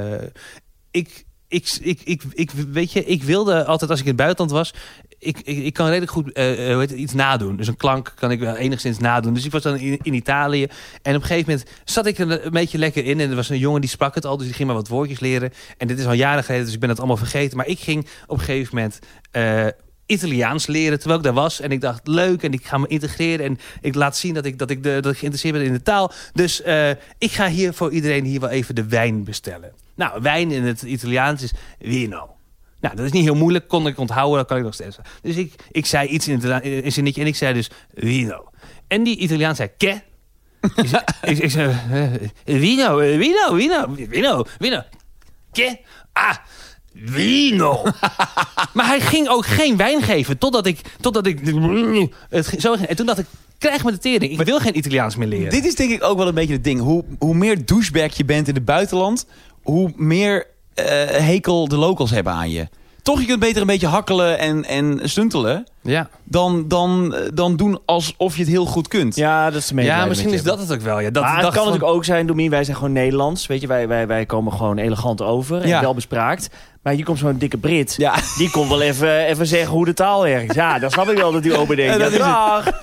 S2: ik, ik, ik, ik, ik, weet je, ik wilde altijd als ik in het buitenland was... Ik, ik, ik kan redelijk goed eh, eh, hoe heet het, iets nadoen. Dus een klank kan ik wel enigszins nadoen. Dus ik was dan in, in Italië. En op een gegeven moment zat ik er een beetje lekker in. En er was een jongen die sprak het al. Dus die ging maar wat woordjes leren. En dit is al jaren geleden, dus ik ben het allemaal vergeten. Maar ik ging op een gegeven moment... eh, Italiaans leren terwijl ik daar was. En ik dacht, leuk, en ik ga me integreren. En ik laat zien dat ik, dat ik, de, dat ik geïnteresseerd ben in de taal. Dus eh, ik ga hier voor iedereen hier wel even de wijn bestellen. Nou, wijn in het Italiaans is vino. Nou, dat is niet heel moeilijk. Kon ik onthouden, dat kan ik nog steeds. Dus ik, ik zei iets in het Italiaans- in een zinnetje en ik zei dus vino. En die Italiaan zei, ke? ik, zei- ik, ik zei, eh, vino, eh, vino, vino, vino, vino. Ke? Ah, vino. Maar hij ging ook geen wijn geven. Totdat ik. Totdat ik het, ging- zo, ging- en toen dacht ik. Krijg me de tering. Ik wil geen Italiaans meer leren.
S3: Dit is denk ik ook wel een beetje het ding. Hoe, hoe meer douchebag je bent in het buitenland, hoe meer eh, hekel de locals hebben aan je. Toch, je kunt beter een beetje hakkelen en, en stuntelen
S2: ja.
S3: dan, dan, eh, dan doen alsof je het heel goed kunt.
S1: Ja, dat is mee.
S2: ja, misschien is dat het ook wel. Ja, dat
S1: maar het
S2: dacht
S1: Ah, kan
S2: van-
S1: natuurlijk ook zijn, Domien, wij zijn gewoon Nederlands. Weet je, wij, wij, wij komen gewoon elegant over en
S3: Ja.
S1: wel bespraakt. Maar hier komt zo'n dikke Brit.
S3: Ja.
S1: Die komt wel even, even zeggen hoe de taal werkt. Ja, dat snap ik wel dat hij open denkt.
S3: Ja,
S1: Ja,
S3: dat is het.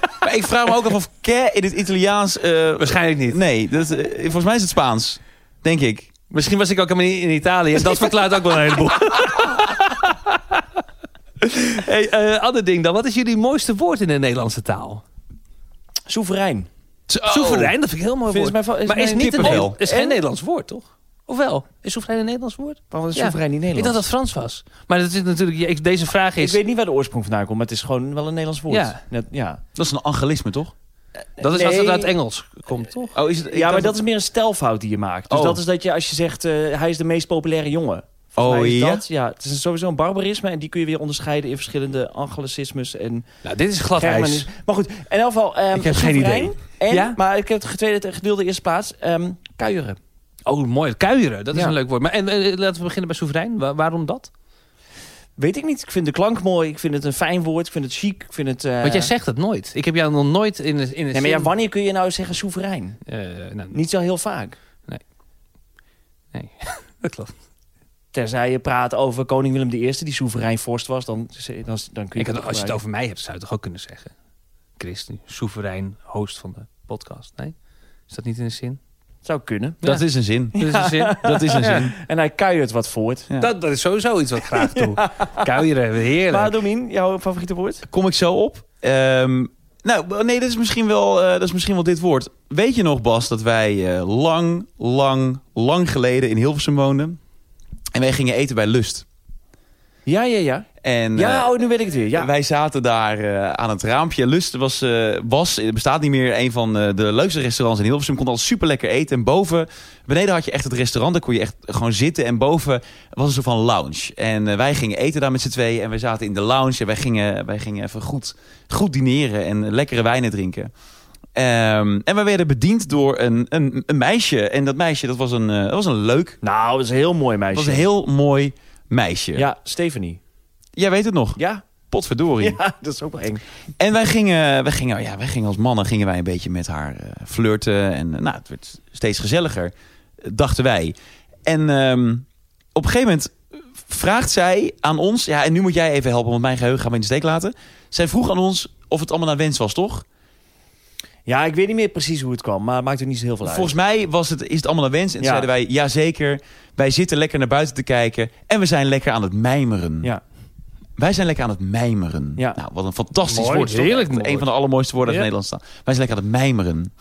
S1: dag.
S3: Maar ik vraag me ook af of ke in het Italiaans... eh,
S2: Waarschijnlijk niet.
S3: nee, dat, eh, volgens mij is het Spaans. Denk ik.
S2: Misschien was ik ook helemaal niet in Italië. En dat verklaart ook wel een heleboel. hey, eh, ander ding dan. Wat is jullie mooiste woord in de Nederlandse taal?
S1: Soeverein.
S2: Soeverein, dat vind ik een heel mooi
S1: Vind- is
S2: woord.
S1: mijn va- is
S2: maar is
S1: mijn
S2: niet een,
S3: kippenvel.
S2: Oh. is geen
S1: En?
S2: Nederlands woord, toch? Of wel? Is soeverein een Nederlands woord?
S1: Waarom is
S2: Ja.
S1: soeverein niet
S2: Ik
S1: Nederlands?
S2: dacht dat het Frans was. Maar dat is natuurlijk, ik- deze vraag
S1: Ik
S2: is...
S1: weet niet waar de oorsprong vandaan komt, maar het is gewoon wel een Nederlands woord.
S2: Ja.
S1: Net- ja.
S3: Dat is een angelisme, toch?
S2: Dat is als
S1: Nee.
S2: het uit Engels komt, toch?
S3: Oh, is het, ik
S1: ja, maar
S3: dacht-
S1: dat is meer een stijlfout die je maakt. Dus
S3: Oh.
S1: dat is dat je als je zegt, eh, hij is de meest populaire jongen. Volgens
S3: Oh,
S1: mij is
S3: ja?
S1: Dat, ja, het is sowieso een barbarisme en die kun je weer onderscheiden in verschillende anglicismes en
S2: Nou, dit is glad ijs.
S1: germanismes. Maar goed, in elk geval... ehm,
S2: Ik heb geen
S1: soeverein
S2: idee.
S1: En,
S2: Ja?
S1: Maar ik heb het tweede, gedeelde eerste plaats, ehm, kuieren.
S2: Oh, mooi. Kuieren, dat is
S1: Ja.
S2: een leuk woord. Maar en, eh, laten we beginnen bij soeverein. Wa- waarom dat?
S1: Weet ik niet, ik vind de klank mooi, ik vind het een fijn woord, ik vind het chic, ik vind het... eh,
S2: Want jij zegt het nooit. Ik heb jou nog nooit in een... In een
S1: Nee, maar ja,
S2: zin-
S1: wanneer kun je nou zeggen soeverein?
S2: Eh, nou,
S1: Niet zo heel vaak.
S2: dat klopt.
S1: Terzij je praat over koning Willem I, die soeverein vorst was, dan, dan, dan kun je dat
S2: Ik had, als je het
S1: gebruiken.
S2: over mij hebt, zou je het toch ook kunnen zeggen? Chris, nu soeverein host van de podcast. Nee? Is dat niet in de zin?
S1: Zou kunnen.
S3: Dat is een zin.
S2: Dus in zin,
S3: Dat is een zin.
S1: En hij kuiert wat voort.
S3: Ja.
S2: dat, dat is sowieso iets wat ik graag doe. Kuieren, heerlijk.
S1: Maar Domien, jouw favoriete woord?
S3: Kom ik zo op? Ehm, nou, nee, dat is, misschien wel, eh, dat is misschien wel dit woord. Weet je nog, Bas, dat wij eh, lang, lang, lang geleden in Hilversum woonden? En wij gingen eten bij Lust.
S1: Ja, ja, ja.
S3: En, eh,
S1: Ja, oh, nu weet ik het weer. Ja.
S3: Wij zaten daar eh, aan het raampje. Lust was, eh, was, eh, bestaat niet meer, een van eh, de leukste restaurants in Hilversum. Kon al super lekker eten. En boven, beneden had je echt het restaurant. Daar kon je echt gewoon zitten. En boven was een soort van lounge. En eh, wij gingen eten daar met z'n tweeën. En wij zaten in de lounge. En wij gingen, wij gingen even goed, goed dineren en lekkere wijnen drinken. Ehm, en wij werden bediend door een, een, een meisje. En dat meisje, dat was een, eh, dat was een leuk,
S1: Nou, dat is een heel mooi
S3: dat
S1: meisje.
S3: was een heel mooi meisje.
S1: Ja, Stephanie.
S3: Jij weet het nog.
S1: Ja?
S3: Potverdorie.
S1: ja, dat is ook wel eng.
S3: En wij gingen, wij gingen, ja, wij gingen als mannen gingen wij een beetje met haar eh, flirten. En eh, nou, het werd steeds gezelliger, eh, dachten wij. En ehm, op een gegeven moment vraagt zij aan ons... Ja, en nu moet jij even helpen, want mijn geheugen gaan we in de steek laten. Zij vroeg aan ons of het allemaal naar wens was, toch?
S1: Ja, ik weet niet meer precies hoe het kwam, maar het maakt er niet zo heel veel uit.
S3: Volgens mij was het, is het allemaal naar wens. En toen
S1: Ja.
S3: zeiden wij, jazeker, wij zitten lekker naar buiten te kijken. En we zijn lekker aan het mijmeren.
S1: Ja.
S3: Wij zijn lekker aan het mijmeren.
S1: Ja.
S3: Nou, wat een fantastisch
S2: Mooi,
S3: woord. Is toch
S2: heerlijk
S3: echt
S2: mooi.
S3: Een van de allermooiste woorden uit
S2: Ja.
S3: Nederland staan. Wij zijn lekker aan het mijmeren.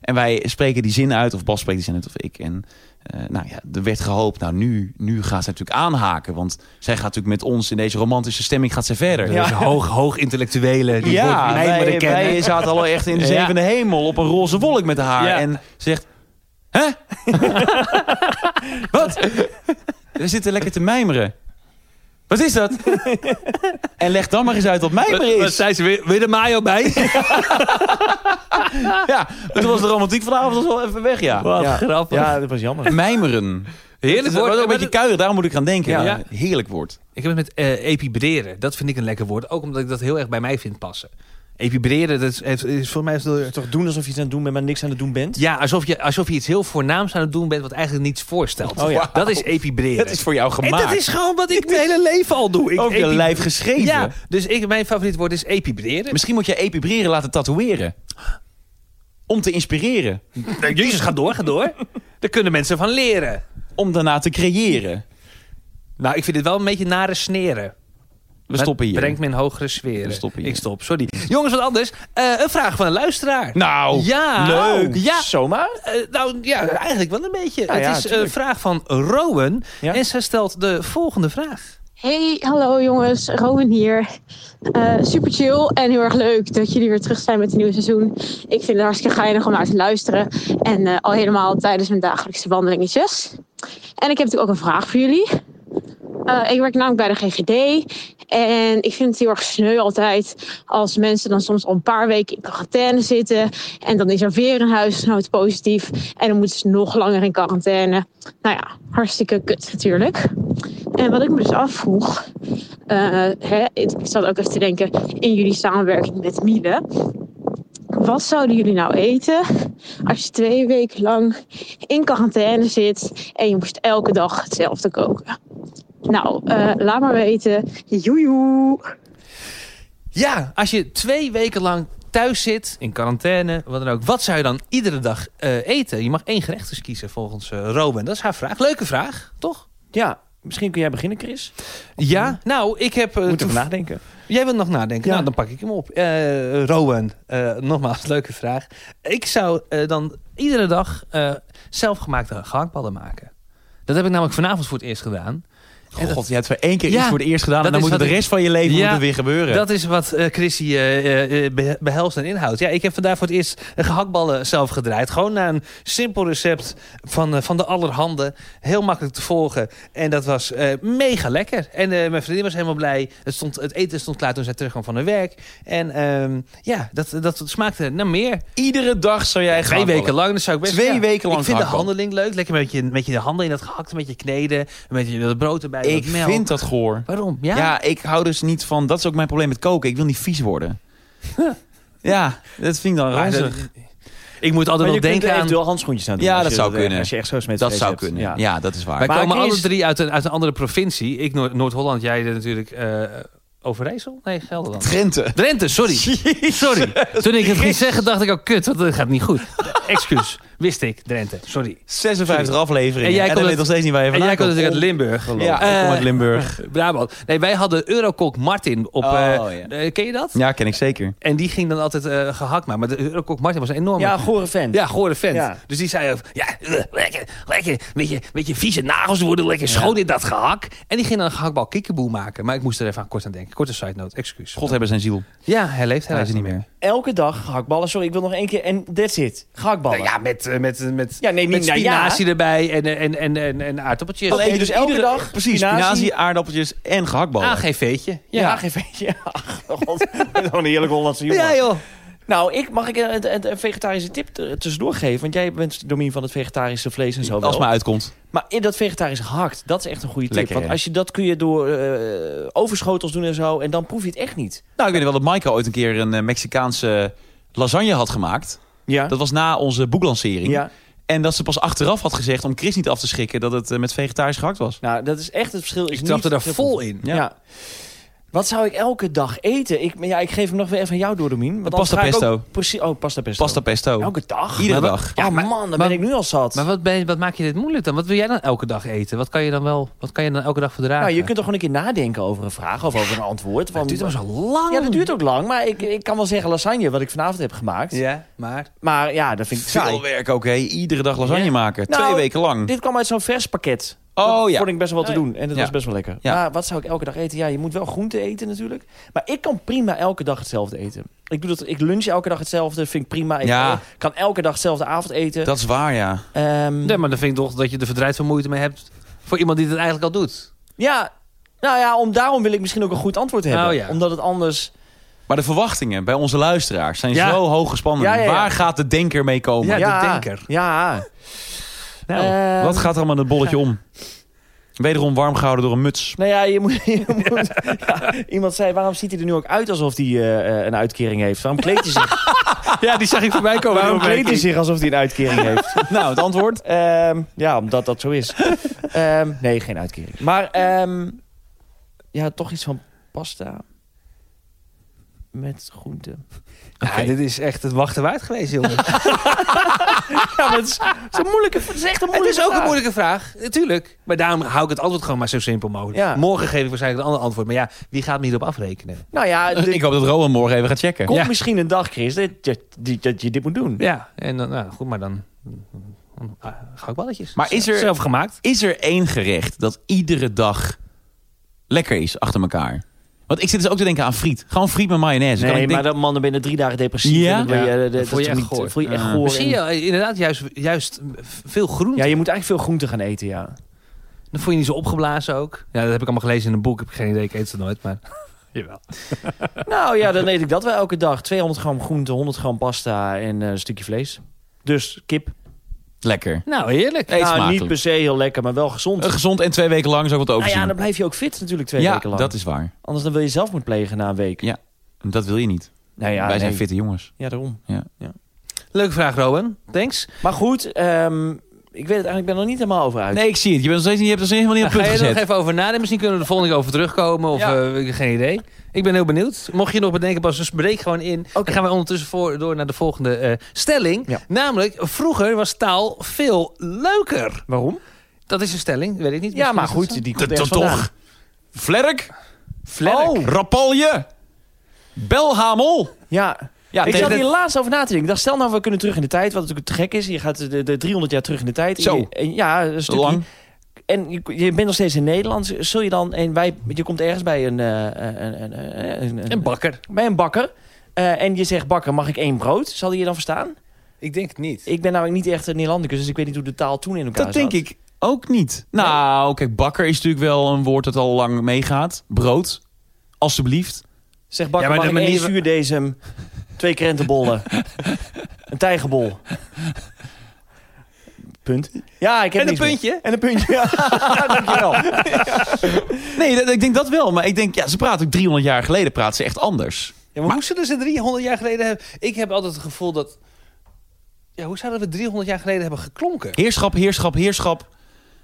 S3: En wij spreken die zin uit, of Bas spreekt die zin uit, of ik. En eh, nou ja, er werd gehoopt, nou nu, nu gaat zij natuurlijk aanhaken. Want zij gaat natuurlijk met ons in deze romantische stemming gaat zij verder.
S2: Dus hoog, hoog intellectuelen. Die
S3: Ja,
S2: woorden die
S3: wij,
S2: mijmeren kennen.
S3: wij zaten al echt in de
S2: Ja.
S3: zevende hemel op een roze wolk met haar.
S2: Ja.
S3: En zegt, hè? Wat? We zitten lekker te mijmeren. Wat is dat? en leg dan maar eens uit wat mijmeren
S2: Wat
S3: is.
S2: zei ze? Wil wil je de mayo bij?
S3: Ja, toen was de romantiek vanavond was wel even weg, ja.
S2: Wat
S1: ja.
S2: grappig.
S1: Ja, dat was jammer.
S3: Mijmeren.
S2: Heerlijk woord.
S3: Wordt ook een beetje kuier, daarom moet ik gaan denken.
S2: Ja.
S3: Ja. Heerlijk woord.
S2: Ik heb het met eh epibreren. Dat vind ik een lekker woord. Ook omdat ik dat heel erg bij mij vind passen. Epibreren, dat is, heeft- is voor mij... is dat-
S1: Toch doen alsof je iets aan het doen bent, maar niks aan het doen bent?
S2: Ja, alsof je, alsof je iets heel voornaams aan het doen bent... wat eigenlijk niets voorstelt.
S1: Oh ja.
S2: Dat is epibreren.
S3: Dat is voor jou
S2: en
S3: gemaakt.
S2: dat is gewoon wat ik mijn hele leven al doe. Ik
S3: over je
S2: epi-
S3: lijf geschreven.
S2: Ja, dus ik, mijn favoriet woord is epibreren.
S3: Misschien moet je epibreren laten tatoeëren. Om te inspireren.
S2: Jezus, ga door, ga door. Daar kunnen mensen van leren.
S3: Om daarna te creëren.
S2: Nou, ik vind het wel een beetje nare sneren.
S3: We stoppen hier.
S2: Brengt me in hogere sferen.
S3: We stoppen hier.
S2: Ik stop, sorry. Jongens, wat anders. Eh, een vraag van een luisteraar.
S3: Nou,
S2: ja.
S3: leuk.
S2: Oh, Ja.
S1: Zomaar?
S2: eh, nou ja, eigenlijk wel een beetje.
S1: Ja,
S2: het
S1: ja,
S2: is eh, een
S1: tuurlijk.
S2: vraag van Rowan.
S1: Ja.
S2: En zij stelt de volgende vraag.
S6: Hey, hallo jongens, Rowan hier. Eh, super chill en heel erg leuk dat jullie weer terug zijn met het nieuwe seizoen. Ik vind het hartstikke geinig om naar te luisteren. En eh, al helemaal tijdens mijn dagelijkse wandelingetjes. En ik heb natuurlijk ook een vraag voor jullie. Eh, ik werk namelijk bij de GGD. En ik vind het heel erg sneu altijd als mensen dan soms al een paar weken in quarantaine zitten. En dan is er weer een huisgenoot positief. En dan moeten ze nog langer in quarantaine. Nou ja, hartstikke kut natuurlijk. En wat ik me dus afvroeg, eh, hè, ik ik zat ook even te denken in jullie samenwerking met Miele. Wat zouden jullie nou eten als je twee weken lang in quarantaine zit en je moest elke dag hetzelfde koken? Nou, eh, laat maar weten. Joejoe!
S2: Ja, als je twee weken lang thuis zit, in quarantaine, wat dan ook. Wat zou je dan iedere dag eh, eten? Je mag één gerecht dus kiezen volgens eh Rowan. Dat is haar vraag. Leuke vraag, toch?
S1: Ja. Misschien kun jij beginnen, Chris.
S2: Ja, nou, ik heb... eh,
S1: Moet
S2: toev-
S1: even nadenken.
S2: Jij wilt nog nadenken?
S1: Ja.
S2: Nou, dan pak ik hem op. Eh, Rowan, eh, nogmaals, leuke vraag. Ik zou eh, dan iedere dag eh, zelfgemaakte gehaktballen maken. Dat heb ik namelijk vanavond voor het eerst gedaan. En dat-
S3: God, je hebt voor één keer
S2: Ja,
S3: iets voor het eerst gedaan. En
S2: dat
S3: dan
S2: is
S3: moet het de
S2: wat ik-
S3: rest van je leven
S2: Ja,
S3: moet het weer gebeuren.
S2: Dat is wat eh Chrissy eh, eh, eh, be- behelst en inhoudt. Ja, ik heb vandaag voor het eerst eh, gehaktballen zelf gedraaid. Gewoon naar een simpel recept van, eh, van de allerhande. Heel makkelijk te volgen. En dat was eh, mega lekker. En eh, mijn vriendin was helemaal blij. Het, stond, het eten stond klaar toen zij terugkwam van haar werk. En ehm, ja, dat, dat smaakte naar meer.
S3: Iedere dag zou jij
S2: Twee
S3: gaan
S2: weken lang, dat zou ik best
S3: Twee
S2: ja,
S3: weken lang
S2: Ik vind de
S3: gehaktballen.
S2: handeling leuk. Lekker met je, met je handen in dat gehakt, met je kneden. Met je dat brood erbij.
S3: Ik
S2: wat melk.
S3: vind dat goor.
S2: Waarom?
S3: Ja?
S2: Ja,
S3: ik hou dus niet van... Dat is ook mijn probleem met koken. Ik wil niet vies worden. ja, dat vind ik dan
S2: Maar dat-
S3: ranzig.
S2: ik moet altijd
S1: Maar
S2: wel
S1: je kunt
S2: denken
S1: er
S2: aan...
S1: eventueel handschoentjes aan doen.
S3: Ja,
S1: als
S3: dat
S1: je
S3: zou
S1: eh,
S3: kunnen.
S1: Als je echt zo smet
S3: Dat zou kunnen. Ja.
S1: Ja.
S3: dat is waar.
S2: Wij
S1: Maar
S2: komen alle
S1: Chris-
S2: drie uit een, uit een andere provincie. Ik Noord- Noord-Holland, jij er natuurlijk eh, Overijssel? Nee, Gelderland.
S3: Drenthe.
S2: Drenthe, sorry. Sorry. Toen ik het ging zeggen, dacht ik al, kut, want dat gaat niet goed. Excuus. Wist ik, Drenthe. Sorry.
S3: 56 afleveringen.
S2: En
S3: En
S2: jij
S3: jij
S2: komt
S3: weet
S2: uit-
S3: nog steeds niet waar je
S2: En
S3: vandaan
S2: jij komt natuurlijk uit
S1: Oh.
S3: komt.
S2: Limburg.
S3: Ja, ik kom uit
S2: Eh,
S3: Limburg.
S2: Brabant. Nee, wij hadden Eurokok Martin op...
S3: Oh,
S2: eh,
S3: ja.
S2: eh, ken je dat?
S3: Ja, ken ik zeker.
S2: En die ging dan altijd eh gehakt maken. Maar de Eurokok Martin was een enorme...
S1: Ja, gore fan.
S2: Ja, gore vent.
S1: Ja.
S2: Dus die zei ook, ja, eh, lekker, lekker, beetje, beetje vieze nagels worden lekker schoon in dat gehak. En die ging dan een gehaktbal kikkerboe maken. Maar ik moest er even aan kort aan denken. Korte side note, excuus.
S3: God hebben zijn ziel.
S2: Ja, hij leeft
S3: Hij
S2: helaas
S3: is er niet meer.
S1: Elke dag gehaktballen. Sorry, ik wil nog één keer. En that's it. Gehaktballen.
S2: Nou ja, met, eh, met, eh, met,
S1: Ja, nee, niet
S2: met
S1: naar
S2: spinazie erbij en, eh, en, en, en, en aardappeltjes.
S1: Alleen- dus elke dag
S3: Precies,
S1: spinazie-
S3: spinazie, Ah, aardappeltjes en gehaktballen.
S2: AGV'tje.
S1: Ja,
S2: Ja,
S1: geen feestje. Ja, oh god. Gewoon een heerlijk Hollandse jongen.
S2: ja joh.
S1: Nou, ik, mag ik een, een- een vegetarische tip er tussendoor geven? Want jij bent Domien van het vegetarische vlees en zo wel.
S3: Als het maar uitkomt.
S1: Maar in dat vegetarische gehakt, dat is echt een goede tip.
S3: Lekker,
S1: want
S3: hè?
S1: als je dat kun je door eh, overschotels doen en zo. En dan proef je het echt niet.
S3: Nou, ik weet wel dat Maika ooit een keer een eh, Mexicaanse lasagne had gemaakt.
S1: Ja.
S3: Dat was na onze boeklancering.
S1: ja.
S3: En dat ze pas achteraf had gezegd, om Chris niet af te schrikken, dat het eh, met vegetarisch gehakt was.
S1: Nou, dat is echt het verschil. Is
S2: Ik trapte
S1: niet te-
S2: daar vol in.
S1: Ja. Wat zou ik elke dag eten? Ik, ja, ik geef hem nog weer even aan jou door, Domien. want anders
S3: Pasta
S1: ga ik
S3: pesto.
S1: ook Precies, oh, pasta pesto.
S3: Pasta pesto.
S1: Elke dag?
S3: Iedere
S2: Maar-
S3: dag.
S1: Ja,
S2: maar-
S1: man, dan
S2: maar-
S1: ben ik nu al zat.
S2: Maar wat, ben, je- wat maak je dit moeilijk dan? Wat wil jij dan elke dag eten? Wat kan je dan wel, wat kan je dan elke dag verdragen?
S1: nou, je kunt toch gewoon een keer nadenken over een vraag of over een antwoord.
S2: Het
S1: Want,
S2: duurt allemaal zo lang.
S1: ja, dat duurt ook lang, maar ik, ik kan wel zeggen lasagne, wat ik vanavond heb gemaakt.
S2: Ja, maar...
S1: Maar ja, dat vind ik
S3: Veel
S1: saai.
S3: werk ook, hè. Iedere dag lasagne
S2: Ja.
S3: maken.
S1: Nou,
S3: Twee weken lang.
S1: Dit kwam uit zo'n vers pakket.
S3: Oh ja.
S1: Vond ik best wel wat te doen en dat
S3: Ja.
S1: was best wel lekker.
S3: Ja.
S1: Maar wat zou ik elke dag eten? Ja, je moet wel groente eten natuurlijk. Maar ik kan prima elke dag hetzelfde eten. Ik, doe dat, ik lunch elke dag hetzelfde, vind ik prima. Ik
S3: Ja.
S1: eh, kan elke dag hetzelfde avond eten.
S3: Dat is waar, ja.
S1: Ehm,
S2: Nee, maar dan vind ik toch dat je er verdrijd van moeite mee hebt voor iemand die dat eigenlijk al doet.
S1: Ja, nou ja, om, daarom wil ik misschien ook een goed antwoord hebben.
S2: Oh ja.
S1: Omdat het anders...
S3: Maar de verwachtingen bij onze luisteraars zijn
S2: Ja.
S3: zo hoog gespannen.
S1: Ja, ja, ja.
S3: Waar gaat de denker mee komen?
S2: Ja, de
S1: ja,
S2: denker.
S1: Ja.
S2: Nou,
S1: Ehm,
S3: Wat gaat er allemaal in het bolletje om? Wederom warm gehouden door een muts.
S1: Nou ja, je moet, je moet- ja, iemand zei, waarom ziet hij er nu ook uit alsof hij eh, eh, een uitkering heeft? Waarom kleedt hij zich,
S2: Ja, die zag ik voorbij komen.
S1: waarom kleedt hij zich alsof hij een uitkering heeft?
S3: Nou, het antwoord?
S1: Ehm, ja, omdat dat zo is. Ehm, nee, geen uitkering. Maar ehm, ja, toch iets van pasta met groente.
S2: dit is echt het wachten waard geweest, jongen.
S1: Ja, maar het is, het is een moeilijke, het is echt een
S2: het
S1: moeilijke
S2: is ook een
S1: vraag.
S2: moeilijke vraag, natuurlijk. Maar daarom hou ik het antwoord gewoon maar zo simpel mogelijk.
S1: Ja.
S2: Morgen geef ik waarschijnlijk een ander antwoord. Maar ja, wie gaat me hierop afrekenen?
S1: Nou ja, de-
S3: Ik hoop dat Rowan morgen even gaat checken.
S1: komt
S2: Ja.
S1: misschien een dag, Chris, dat, dat, dat- dat je dit moet doen.
S2: Ja, en dan, nou, goed, maar dan... dan, ah, Ga ik balletjes.
S3: Maar is er-
S2: Zelf gemaakt.
S3: Is er één gerecht dat iedere dag lekker is achter elkaar? Want ik zit dus ook te denken aan friet. Gewoon friet met mayonaise.
S1: Nee,
S3: Kan ik
S1: Dus maar
S3: denk-
S1: dat mannen binnen drie dagen depressief. en
S3: Ja?
S1: dan ben je,
S2: Ja,
S1: eh,
S2: dan
S1: dat
S2: voel
S1: is
S2: je
S1: toch
S2: echt
S1: niet-
S2: goor.
S1: voel je echt
S3: Ja.
S1: goor.
S2: Zie
S1: en-
S2: je, eh, inderdaad, juist, juist veel groente.
S1: Ja, je moet eigenlijk veel groente gaan eten, ja.
S2: Dan voel je niet zo opgeblazen ook. Ja, dat heb ik allemaal gelezen in een boek. Ik heb geen idee, ik eet het nooit, maar... Jawel.
S1: Nou ja, dan eet ik dat wel elke dag. 200 gram groente, 100 gram pasta en eh, een stukje vlees. Dus kip.
S3: Lekker.
S2: Nou, heerlijk.
S3: Eet
S1: Nou,
S3: smakelijk.
S1: niet per se heel lekker, maar wel gezond.
S3: Eh, Gezond en twee weken lang zou ik wat
S1: nou
S3: overzien.
S1: ja, dan blijf je ook fit natuurlijk twee
S3: Ja,
S1: weken lang.
S3: dat is waar.
S1: Anders dan wil je zelf moeten plegen na een week.
S3: Ja. Dat wil je niet.
S1: Nou ja,
S3: Wij zijn
S1: nee.
S3: fitte jongens.
S1: Ja, daarom.
S2: Leuke vraag, Rowan. Thanks.
S1: Maar goed, ehm, ik weet het eigenlijk, ik ben er niet helemaal over uit.
S3: Nee, ik zie het. Je, bent nog steeds niet, je hebt er nog helemaal niet op
S2: Nou, ga
S3: het punt
S2: je er nog
S3: gezet.
S2: even over nadenken? Misschien kunnen we de volgende keer over terugkomen. Of
S3: Ja.
S2: eh, geen idee. Ik ben heel benieuwd. Mocht je nog bedenken, Bas, dus breek gewoon in. Dan gaan we ondertussen voor, door naar de volgende eh, stelling.
S1: Ja.
S2: Namelijk, vroeger was taal veel leuker.
S1: Waarom?
S2: Dat is een stelling, weet ik niet.
S1: Ja,
S2: Misschien
S1: maar
S2: is dat
S1: goed, die komt
S3: Dat
S1: ergens vandaan.
S3: toch? Vlerk?
S2: Vlerk.
S3: Oh. Rapalje? Belhamel?
S1: Ja.
S3: Ja,
S1: ik
S3: tegen-
S1: zat hier laatst over na te denken. Ik dacht, stel nou, we kunnen terug in de tijd. Wat natuurlijk te gek is. Je gaat de, de 300 jaar terug in de tijd.
S3: Zo.
S1: En je- en ja, een
S3: Zo
S1: stukje.
S3: lang.
S1: En je, je bent nog steeds in Nederland. Zul je dan... En wij, je komt ergens bij een... eh, een, een, een, een-
S2: Een bakker.
S1: bij een bakker. eh, en je zegt, bakker, mag ik één brood? Zal die je dan verstaan?
S2: Ik denk het niet.
S1: Ik ben namelijk niet echt een Nederlandicus, dus ik weet niet hoe de taal toen in elkaar
S3: Dat
S1: zat.
S3: denk ik ook niet. Nou, kijk, bakker is natuurlijk wel een woord dat al lang meegaat. Brood, alstublieft.
S1: Zeg, bakker,
S2: Ja, maar
S1: mag
S2: de
S1: ik één
S2: manier-
S1: zuurdesem, twee krentenbollen, een tijgerbol. Punt. Ja, ik heb
S2: En een
S1: niks meer.
S2: puntje.
S1: En een puntje, ja. Dankjewel.
S3: Nee, dat- ik denk dat wel. Maar ik denk, ja, ze praten ook 300 jaar geleden praten ze echt anders.
S2: Ja, maar, hoe zullen ze 300 jaar geleden hebben... Ik heb altijd het gevoel dat... Ja, hoe zouden we 300 jaar geleden hebben geklonken?
S3: Heerschap, heerschap, heerschap.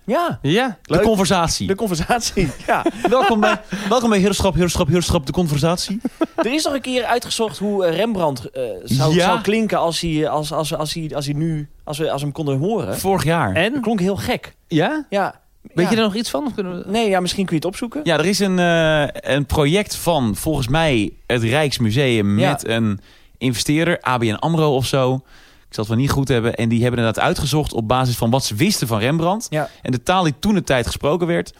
S1: Ja,
S2: Ja.
S1: Leuk.
S3: De conversatie.
S1: de conversatie. Ja.
S3: Welkom bij, welkom bij Heerschap, Heerschap, Heerschap, de conversatie.
S1: Er is nog een keer uitgezocht hoe eh, Rembrandt eh, zou,
S3: Ja.
S1: zou klinken als hij, eh, als, als, als, hij, als hij nu, als we, als we hem konden horen.
S3: Vorig jaar.
S1: Dat
S2: En?
S1: klonk heel gek.
S2: Ja?
S1: Ja.
S2: Weet
S1: Ja.
S2: je er nog iets van? Of kunnen we...
S1: Nee, ja, misschien kun je het opzoeken.
S3: Ja, er is een, eh, een project van volgens mij het Rijksmuseum
S1: Ja.
S3: met een investeerder, ABN AMRO of zo. Ik zal het wel niet goed hebben. En die hebben inderdaad uitgezocht op basis van wat ze wisten van Rembrandt.
S1: Ja.
S3: En de taal die toen de tijd gesproken werd.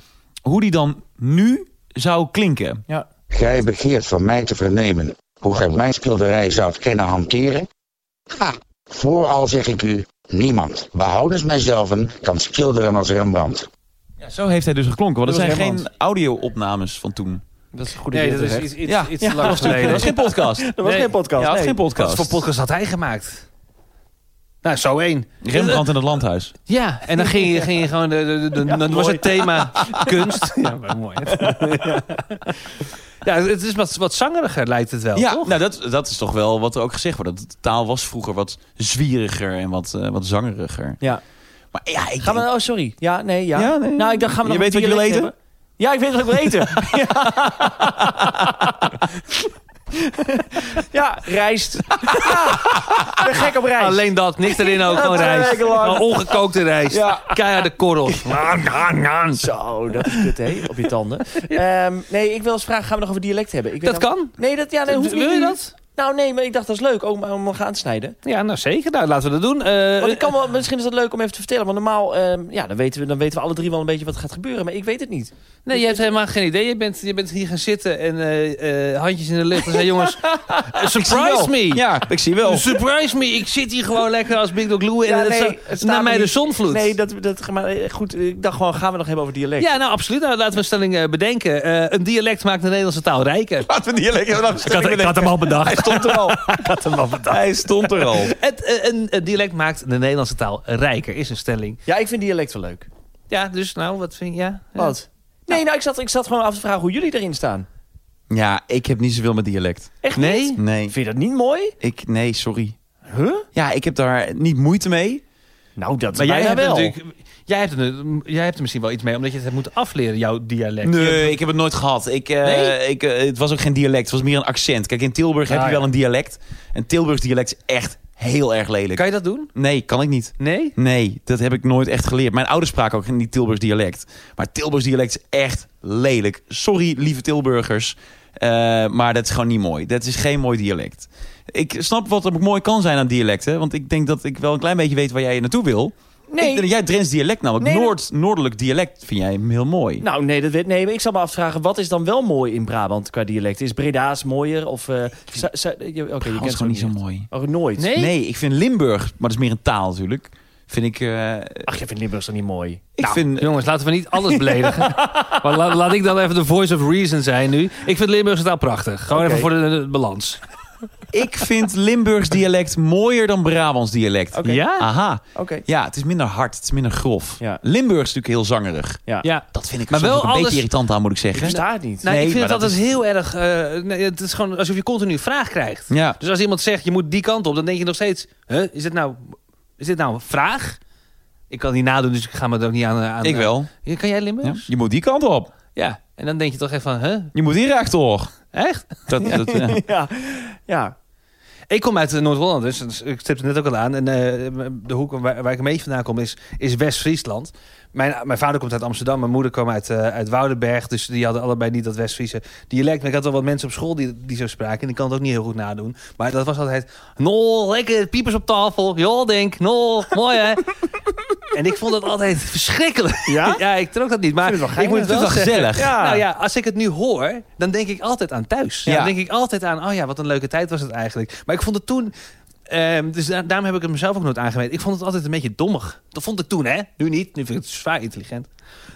S3: Hoe die dan nu zou klinken.
S1: Ja.
S7: Gij begeert van mij te vernemen hoe gij mijn schilderij zoudt kennen hanteren? Ha, vooral zeg ik u, niemand, behoudens mijzelf, kan schilderen als Rembrandt.
S3: Ja, zo heeft hij dus geklonken. Want er
S1: Dat
S3: zijn
S1: was
S3: geen audio-opnames van toen.
S1: Dat is een goede
S2: Nee,
S1: idee,
S2: dat is
S1: hè?
S2: iets, iets,
S3: Ja.
S2: iets
S1: Ja,
S2: langer
S1: dat is
S3: Dat
S2: geleden.
S3: was geen podcast.
S1: Er was
S2: Nee.
S1: geen podcast.
S3: Ja, dat is
S1: nee.
S3: geen
S2: Wat
S3: podcast.
S2: voor podcast had hij gemaakt? Nou, zo één.
S3: Rembrandt in het landhuis.
S2: Ja, en dan ging je, ging je gewoon... De, de, de- dan was het thema kunst. Ja, maar mooi. Ja, het is wat, wat zangeriger lijkt het wel,
S3: ja,
S2: Oh, toch?
S3: nou dat, dat is toch wel wat er ook gezegd wordt. Dat de taal was vroeger wat zwieriger en wat, eh, wat zangeriger.
S1: Ja.
S3: Maar ja, ik
S1: Gaan we,
S3: denk-
S1: oh, sorry. Ja, nee, ja.
S3: Ja, nee.
S1: Nou, ik dacht, gaan we
S3: Je
S1: nog
S3: weet
S1: een
S3: wat je wil
S1: dialect
S3: eten?
S1: hebben? Ja, ik weet wat ik wil eten. ja. ja, rijst. Ja, ik ben gek op rijst.
S2: Alleen dat, niks erin ook, gewoon
S1: twee
S2: rijst.
S1: weken lang.
S2: Gewoon Ongekookte rijst.
S1: Ja.
S2: Keiharde korrels.
S1: Zo, dat is kut, hè? Op je tanden. Ehm, nee, ik wil eens vragen, gaan we nog over dialect hebben? Ik weet
S2: Dat
S1: dan-
S2: kan.
S1: Nee, dat, Eh, ja, nee, hoeft niet.
S2: Wil je
S1: nu.
S2: dat?
S1: Nou, nee, maar ik dacht, dat is leuk om, om gaan te snijden.
S2: Ja, nou zeker. Nou, laten we dat doen. Eh,
S1: Want ik kan wel, misschien is dat leuk om even te vertellen. Want normaal, ehm, ja, dan weten, we, dan weten we alle drie wel een beetje wat er gaat gebeuren. Maar ik weet het niet.
S2: Nee, je hebt helemaal geen idee. Je bent, je bent hier gaan zitten en eh, eh, handjes in de lucht. En zei, jongens, eh, surprise me.
S3: Ja, ik zie wel.
S2: Surprise me. Ik zit hier gewoon lekker als Big Dog Lou. En
S1: Ja,
S2: het
S1: nee,
S2: zo-
S1: het staat
S2: naar
S1: er
S2: mij de
S1: niet.
S2: zonvloed.
S1: Nee, dat, dat, maar eh, goed, ik dacht gewoon, gaan we nog hebben over dialect?
S2: ja, nou absoluut. Nou, laten we een stelling eh, bedenken. Eh, een dialect maakt de Nederlandse taal rijker.
S3: Laten we die lekker nog
S2: hem al bedacht.
S3: Hij stond er al. Hij stond er al.
S2: Het, eh, een, een dialect maakt de Nederlandse taal rijker, is een stelling.
S1: Ja, ik vind dialect wel leuk.
S2: Ja, dus nou, wat vind je? Ja, ja.
S1: Wat? Nee, nou, ik zat, ik zat gewoon af te vragen hoe jullie erin staan.
S3: Ja, ik heb niet zoveel met dialect.
S1: Echt
S2: Nee?
S1: niet?
S3: Nee.
S1: Vind je dat niet mooi?
S3: Ik, nee, sorry.
S1: Huh?
S3: Ja, ik heb daar niet moeite mee.
S1: Nou, dat
S2: Maar jij
S1: bijna
S2: hebt,
S1: wel.
S2: natuurlijk, jij, hebt er, jij hebt er misschien wel iets mee, omdat je het hebt moeten afleren, jouw dialect.
S3: Nee, ik heb het nooit gehad. Ik, eh,
S2: Nee?
S3: ik, eh, het was ook geen dialect, het was meer een accent. Kijk, in Tilburg heb
S2: Ah,
S3: je wel
S2: ja.
S3: een dialect. En Tilburgs dialect is echt heel erg lelijk.
S2: Kan je dat doen?
S3: Nee, kan ik niet.
S2: Nee?
S3: Nee, dat heb ik nooit echt geleerd. Mijn ouders spraken ook niet Tilburgs dialect. Maar Tilburgs dialect is echt lelijk. Sorry, lieve Tilburgers. eh, maar dat is gewoon niet mooi. Dat is geen mooi dialect. Ik snap wat er mooi kan zijn aan dialecten. Want ik denk dat ik wel een klein beetje weet waar jij naartoe wil.
S1: Nee.
S3: Ik- jij Drents dialect namelijk.
S1: Nee,
S3: Noord, Noordelijk dialect vind jij heel mooi.
S1: Nou, nee, dat weet, nee, maar ik zal me afvragen, wat is dan wel mooi in Brabant qua dialect? Is Breda's mooier of... eh Zu- Zu- je- Oké, je
S3: dat
S1: kent
S3: is
S1: ze
S3: gewoon niet zo
S1: echt.
S3: mooi.
S1: Oh, nooit?
S2: Nee?
S3: Nee, ik vind Limburg, maar dat is meer een taal natuurlijk. Vind ik... eh,
S1: Ach, jij vindt Limburgs dan niet mooi?
S3: ik vind...
S2: Jongens, laten we niet alles beledigen. maar la- laat ik dan even de voice of reason zijn nu. Ik vind Limburgse taal prachtig. Gewoon
S1: Oké.
S2: even voor de, de balans.
S3: Ik vind Limburgs dialect mooier dan Brabants dialect.
S1: Oké.
S2: Ja?
S3: Aha.
S1: Oké.
S3: Ja, het is minder hard, het is minder grof.
S1: Ja.
S3: Limburg is natuurlijk heel zangerig.
S1: Ja.
S2: Ja.
S3: Dat vind ik
S2: Maar
S3: maar wel
S2: wel
S3: een
S2: alles-
S3: beetje irritant aan, moet ik
S1: Ik
S3: zeggen.
S1: versta het niet.
S2: Nou,
S3: Nee,
S2: ik vind het
S3: maar dat
S2: altijd heel erg... eh, nee, het is gewoon alsof je continu een vraag krijgt.
S3: Ja.
S2: Dus als iemand zegt, je moet die kant op, dan denk je nog steeds... Huh, is, dit nou, is dit nou een vraag? Ik kan het niet nadoen, dus ik ga me er ook niet aan... aan
S3: Ik wel.
S2: Ja, Kan jij
S3: Ja.
S2: Limburgs? Ja.
S3: Je moet die kant op.
S2: En dan denk je toch even van... Huh,
S3: Je moet hier rechtdoor.
S2: echt?
S3: Dat, dat, ja.
S1: Ja. ja.
S2: Ik kom uit eh, Noord-Holland, dus dus ik stip het net ook al aan. En eh, de hoek waar, waar ik een beetje vandaan kom is, is West-Friesland. Mijn, mijn vader komt uit Amsterdam, mijn moeder kwam uit, eh, uit Woudenberg. Dus die hadden allebei niet dat West-Friese dialect. Maar ik had wel wat mensen op school die, die zo spraken. En ik kan het ook niet heel goed nadoen. Maar dat was altijd, nol, lekker, piepers op tafel. Jol, denk, nol, mooi hè. en ik vond dat altijd verschrikkelijk.
S1: Ja?
S2: ja, ik trok dat niet. Maar
S1: Ik vind het wel
S2: ik moet
S1: geinig.
S2: het wel
S3: Dat is wel
S2: zeggen.
S3: gezellig.
S1: Ja.
S2: Nou ja, als ik het nu hoor, dan denk ik altijd aan thuis.
S3: Ja.
S2: Dan denk ik altijd aan, oh ja, wat een leuke tijd was het eigenlijk. Maar ik vond het toen... ehm, dus da- daarom heb ik het mezelf ook nooit aangemeten. Ik vond het altijd een beetje dommig. Dat vond ik toen, hè? Nu niet. Nu vind ik het zwaar intelligent.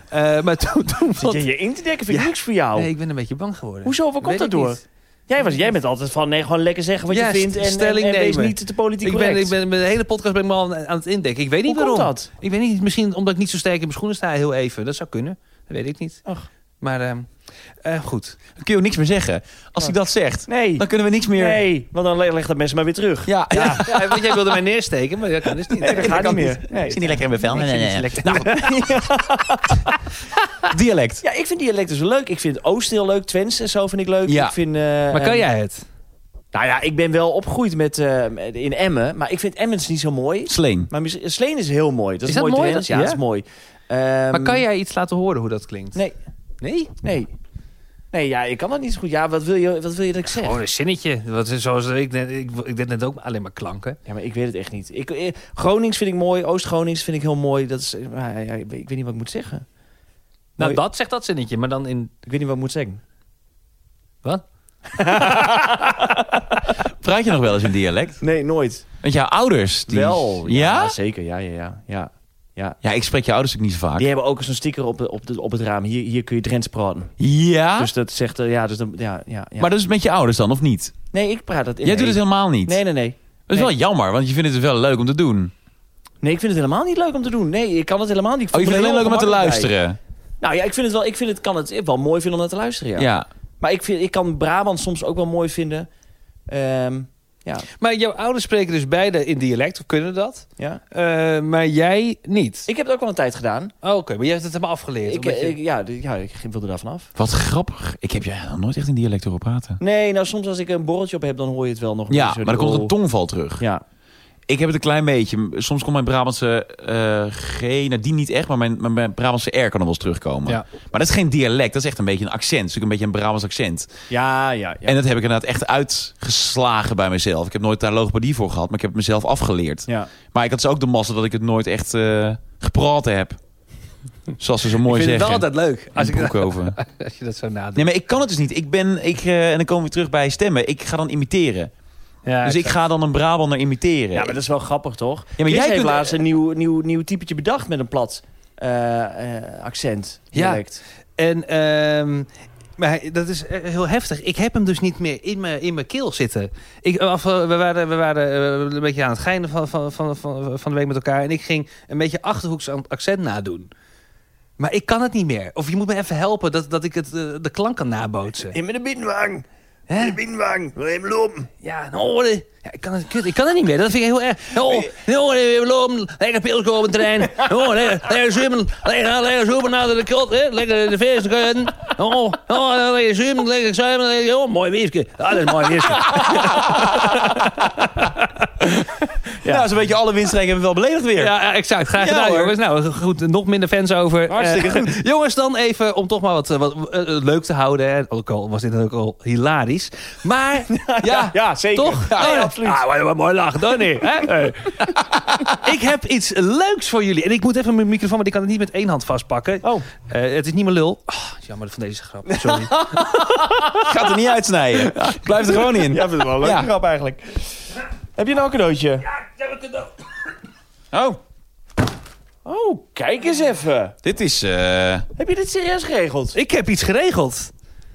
S2: Eh, maar toen, toen
S1: Zit
S2: vond
S1: je je in te dekken? Vind ik
S2: Ja.
S1: niks voor jou.
S2: Nee, ik ben een beetje bang geworden.
S1: Hoezo? Waar komt
S2: Weet
S1: dat
S2: ik
S1: door?
S2: niet.
S1: Jij, was, jij bent altijd van, nee, gewoon lekker zeggen wat
S2: Ja,
S1: je vindt. En,
S2: stelling
S1: en, en wees
S2: nemen.
S1: niet te politiek
S2: Ik ben,
S1: correct.
S2: ik ben, mijn hele podcast ben ik me al aan aan het indekken. Ik weet niet
S1: Hoe komt
S2: waarom.
S1: dat?
S2: Ik weet niet. Misschien omdat ik niet zo sterk in mijn schoenen sta heel even. Dat zou kunnen. Dat weet ik niet.
S1: Ach.
S2: Maar ehm, Eh, goed.
S3: Dan kun je ook niks meer zeggen. Als hij dat zegt,
S1: Nee.
S3: dan kunnen we niks meer...
S1: Nee, want dan le- legt dat mensen maar weer terug.
S3: Ja,
S2: Ja. want jij wilde mij neersteken, maar dat kan dus niet.
S1: Nee, dat gaat niet meer.
S3: Ik
S1: Nee.
S3: zit niet lekker in mijn vel. Nee, nee, nee. Nou, dialect.
S1: Ja, ik vind dialecten zo leuk. Ik vind Oost heel leuk. Twents en zo vind ik leuk.
S3: Ja.
S1: Ik vind, eh,
S2: Maar
S1: eh,
S2: kan jij het?
S1: Nou ja, ik ben wel opgegroeid met, eh, in Emmen. Maar ik vind Emmen niet zo mooi.
S3: Sleen.
S1: Maar mis- Sleen is heel mooi. Dat is,
S2: Is dat
S1: mooi.
S2: mooi?
S1: Drents.
S2: Dat-
S1: Ja,
S2: ja?
S1: dat is mooi. Ehm,
S2: Maar kan jij iets laten horen hoe dat klinkt?
S1: Nee.
S2: Nee?
S1: Nee. Nee, ja, ik kan dat niet zo goed. Ja, wat wil je, wat wil je dat ik zeg?
S2: Gewoon Oh, een zinnetje. Wat is, zoals ik, net, ik, ik deed net ook alleen maar klanken.
S1: Ja, maar ik weet het echt niet. Ik, eh, Gronings vind ik mooi. Oost-Gronings vind ik heel mooi. Dat is, eh, maar ja, ik weet ik weet niet wat ik moet zeggen. Mooi.
S2: Nou, dat zegt dat zinnetje, maar dan in...
S1: Ik weet niet wat ik moet zeggen.
S2: Wat?
S3: Praat je nog wel eens in dialect?
S1: Nee, nooit.
S3: Want jouw ouders... Die...
S1: Wel.
S3: Ja?
S1: Zeker, ja, ja, ja. ja. ja.
S3: Ja, ik spreek je ouders ook niet zo vaak.
S1: Die hebben ook zo'n sticker op, op, de, op het raam. Hier, hier kun je Drents praten.
S3: Ja?
S1: Dus dat zegt... eh, Ja, dus dan, ja, ja, ja.
S3: Ah? Maar dat is met je ouders dan, of niet?
S1: nee, ik praat dat...
S3: Jij doet het helemaal niet.
S1: Nee, nee, nee.
S3: Dat is wel jammer, want je vindt het wel leuk om te doen. Oh,
S1: Nee, ik vind het helemaal niet leuk om te doen. Nee, ik kan het helemaal niet. Ik
S3: Oh, je
S1: voel
S3: vindt
S1: me
S3: het
S1: heel
S3: alleen leuk om naar te
S1: ongemakkelijk bij.
S3: luisteren?
S1: Nou ja, ik vind het wel... Ik vind het, kan het wel mooi vinden om naar te luisteren, ja.
S3: Ja.
S1: Maar ik, vind, ik kan Brabant soms ook wel mooi vinden. Ehm, ja,
S2: Maar jouw ouders spreken dus beide in dialect, of kunnen dat?
S1: ja.
S2: Eh, maar jij niet.
S1: Ik heb het ook wel een tijd gedaan.
S2: Oh, Oké, maar jij hebt het helemaal afgeleerd.
S1: Ik,
S2: omdat je-
S1: ik- ja, d- ja, ik wilde daar vanaf.
S3: Wat grappig. Ik heb je nog nooit echt in dialect horen praten.
S1: Nee, nou soms als ik een borreltje op heb, dan hoor je het wel nog. een
S3: Ja,
S1: beetje zo
S3: maar dan
S1: die-
S3: komt er
S1: oh.
S3: een tongval terug.
S1: Ja,
S3: Ik heb het een klein beetje. Soms komt mijn Brabantse eh G, nou die niet echt, maar mijn, mijn- mijn Brabantse R kan er wel eens terugkomen.
S2: Ja.
S3: Maar dat is geen dialect, dat is echt een beetje een accent. Dat is ook een beetje een Brabants accent.
S1: ja, ja. ja.
S3: En dat heb ik inderdaad echt uitgeslagen bij mezelf. Ik heb nooit daar logopedie voor gehad, maar ik heb het mezelf afgeleerd.
S1: ja.
S3: Maar ik had dus ook de massa dat ik het nooit echt eh gepraten heb. Zoals ze zo mooi
S2: ik vind het
S3: zeggen.
S2: wel altijd leuk. Als,
S3: In
S2: ik,
S3: Broekhoven.
S2: als je dat zo nadenkt.
S3: Nee, maar ik kan het dus niet. Ik ben, ik, eh, en dan komen we terug bij stemmen. Ik ga dan imiteren.
S2: Ja,
S3: Dus ik ga dan een Brabander imiteren.
S1: Ja, maar dat is wel grappig, toch? Ja,
S3: maar jij
S1: heeft
S3: kunt-
S1: laatst een nieuw, nieuw, nieuw typetje bedacht met een plat eh, eh, accent.
S2: Ja.
S1: Dialect.
S2: En ehm, maar hij- dat is eh, heel heftig. Ik heb hem dus niet meer in mijn, in mijn keel zitten. Ik, of, eh, we waren, we waren eh, een beetje aan het geinen van, van, van, van, van de week met elkaar. En ik ging een beetje achterhoeks aan- accent nadoen. Maar ik kan het niet meer. Of je moet me even helpen dat, dat ik het, eh, de klank kan nabootsen.
S1: In met de binnenwang.
S2: Hè?
S1: binnenwang. Wil je hem lopen?
S2: Ja, nou, eh, ja, ik, kan het, kut, ik kan het niet meer. Dat vind ik heel erg. Oh, nou, eh, we lopen. Lekker pils op een trein. Oh, lekker, lekker zwemmen. Lekker, lekker zoeken naar de kot. Hè? Lekker de feest kunnen. Oh, oh, lekker zwemmen. Lekker zwemmen. Lekker, oh, mooi weefje. Ja, dat is een mooi weefje.
S3: Ja, Nou, zo'n beetje alle winstrijken hebben we wel beledigd weer.
S2: Ja, ja, exact. Graag gedaan,
S3: hoor.
S2: jongens. Nou, goed. Nog minder fans over.
S3: Hartstikke
S2: Eh, jongens, dan even om toch maar wat, eh, wat eh, eh, leuk te houden. Hè. Ook al was dit ook al hilarisch. Maar, ja,
S1: Ja, zeker.
S2: Toch?
S1: Ja,
S2: Oh,
S1: ja, absoluut.
S2: Ah, maar, maar mooi lachen, dan niet. hè? Hey. ik heb iets leuks voor jullie. En ik moet even mijn microfoon, want ik kan het niet met één hand vastpakken.
S1: Oh.
S2: Eh, het is niet mijn lul. Ah, jammer van deze grap. Sorry.
S3: Gaat er niet uitsnijden. Blijf er gewoon in.
S1: Ja, vind ik wel een leuke
S3: Ja.
S1: grap eigenlijk. Heb je nou een cadeautje?
S3: Oh,
S1: Oh, kijk eens even.
S3: dit is... eh,
S1: Heb je dit serieus geregeld?
S2: ik heb iets geregeld.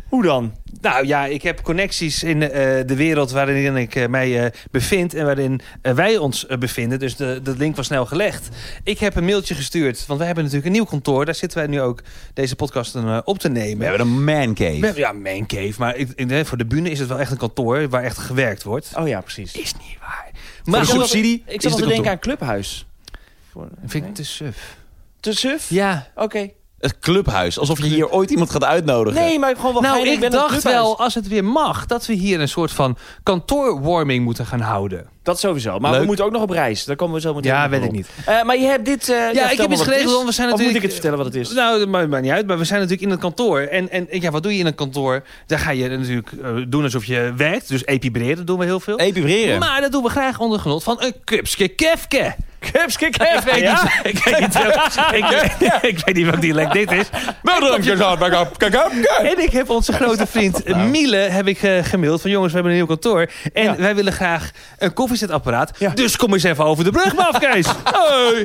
S1: Hoe dan?
S2: Nou ja, ik heb connecties in eh, de wereld waarin ik eh, mij eh, bevind en waarin eh, wij ons eh, bevinden. Dus de, de link was snel gelegd. Ik heb een mailtje gestuurd, want wij hebben natuurlijk een nieuw kantoor. Daar zitten wij nu ook deze podcast eh, op te
S3: we
S2: nemen.
S3: hebben een man
S2: We
S3: cave.
S2: hebben- Ja, man cave. Maar ik- in- hè, voor de bühne is het wel echt een kantoor waar echt gewerkt wordt.
S1: Oh ja, precies.
S2: Is niet waar.
S3: Maar
S2: Maar
S3: de subsidie
S1: Ik
S3: is
S1: zat al te
S3: de
S1: denken
S3: kantoor.
S1: aan Clubhuis.
S2: vind ik te suf. Oh,
S1: Te suf?
S2: Ja.
S1: Oké.
S3: Het clubhuis. Alsof je hier ooit iemand gaat uitnodigen.
S1: Nee, maar ik gewoon wel
S2: Nou,
S1: geinig.
S2: ik
S1: ben aan het
S2: dacht
S1: Clubhuis.
S2: wel, als het weer mag, dat we hier een soort van kantoorwarming moeten gaan houden.
S1: Dat sowieso. Maar
S3: Leuk.
S1: we moeten ook nog op reis. Daar komen we zo meteen
S2: Ja,
S1: nog
S2: weet
S1: op.
S2: ik niet.
S1: Eh, maar je hebt dit... eh, ja, vertel
S2: ik heb
S1: maar
S2: iets
S1: wat het
S2: geregeld,
S1: is.
S2: want we zijn
S1: Of moet ik
S2: natuurlijk-
S1: het vertellen wat het is?
S2: Nou, dat maakt, maakt niet uit. Maar we zijn natuurlijk in het kantoor. En, en ja, wat doe je in een kantoor? Daar ga je natuurlijk eh, doen alsof je werkt. Dus epibreren doen we heel veel.
S3: Epibreren.
S2: Maar dat doen we graag onder genot van een kupske kefke.
S1: Kupske
S2: Ik weet
S1: ja?
S2: niet- ik weet niet welk- ik weet- ik weet niet welk dialect dit is. En ik heb onze grote vriend Miele heb ik, eh, gemaild van jongens, we hebben een nieuw kantoor. En
S1: Ja.
S2: wij willen graag een koffiezetapparaat.
S1: Ja.
S2: Dus kom eens even over de brug, maar af, Kees. Hoi.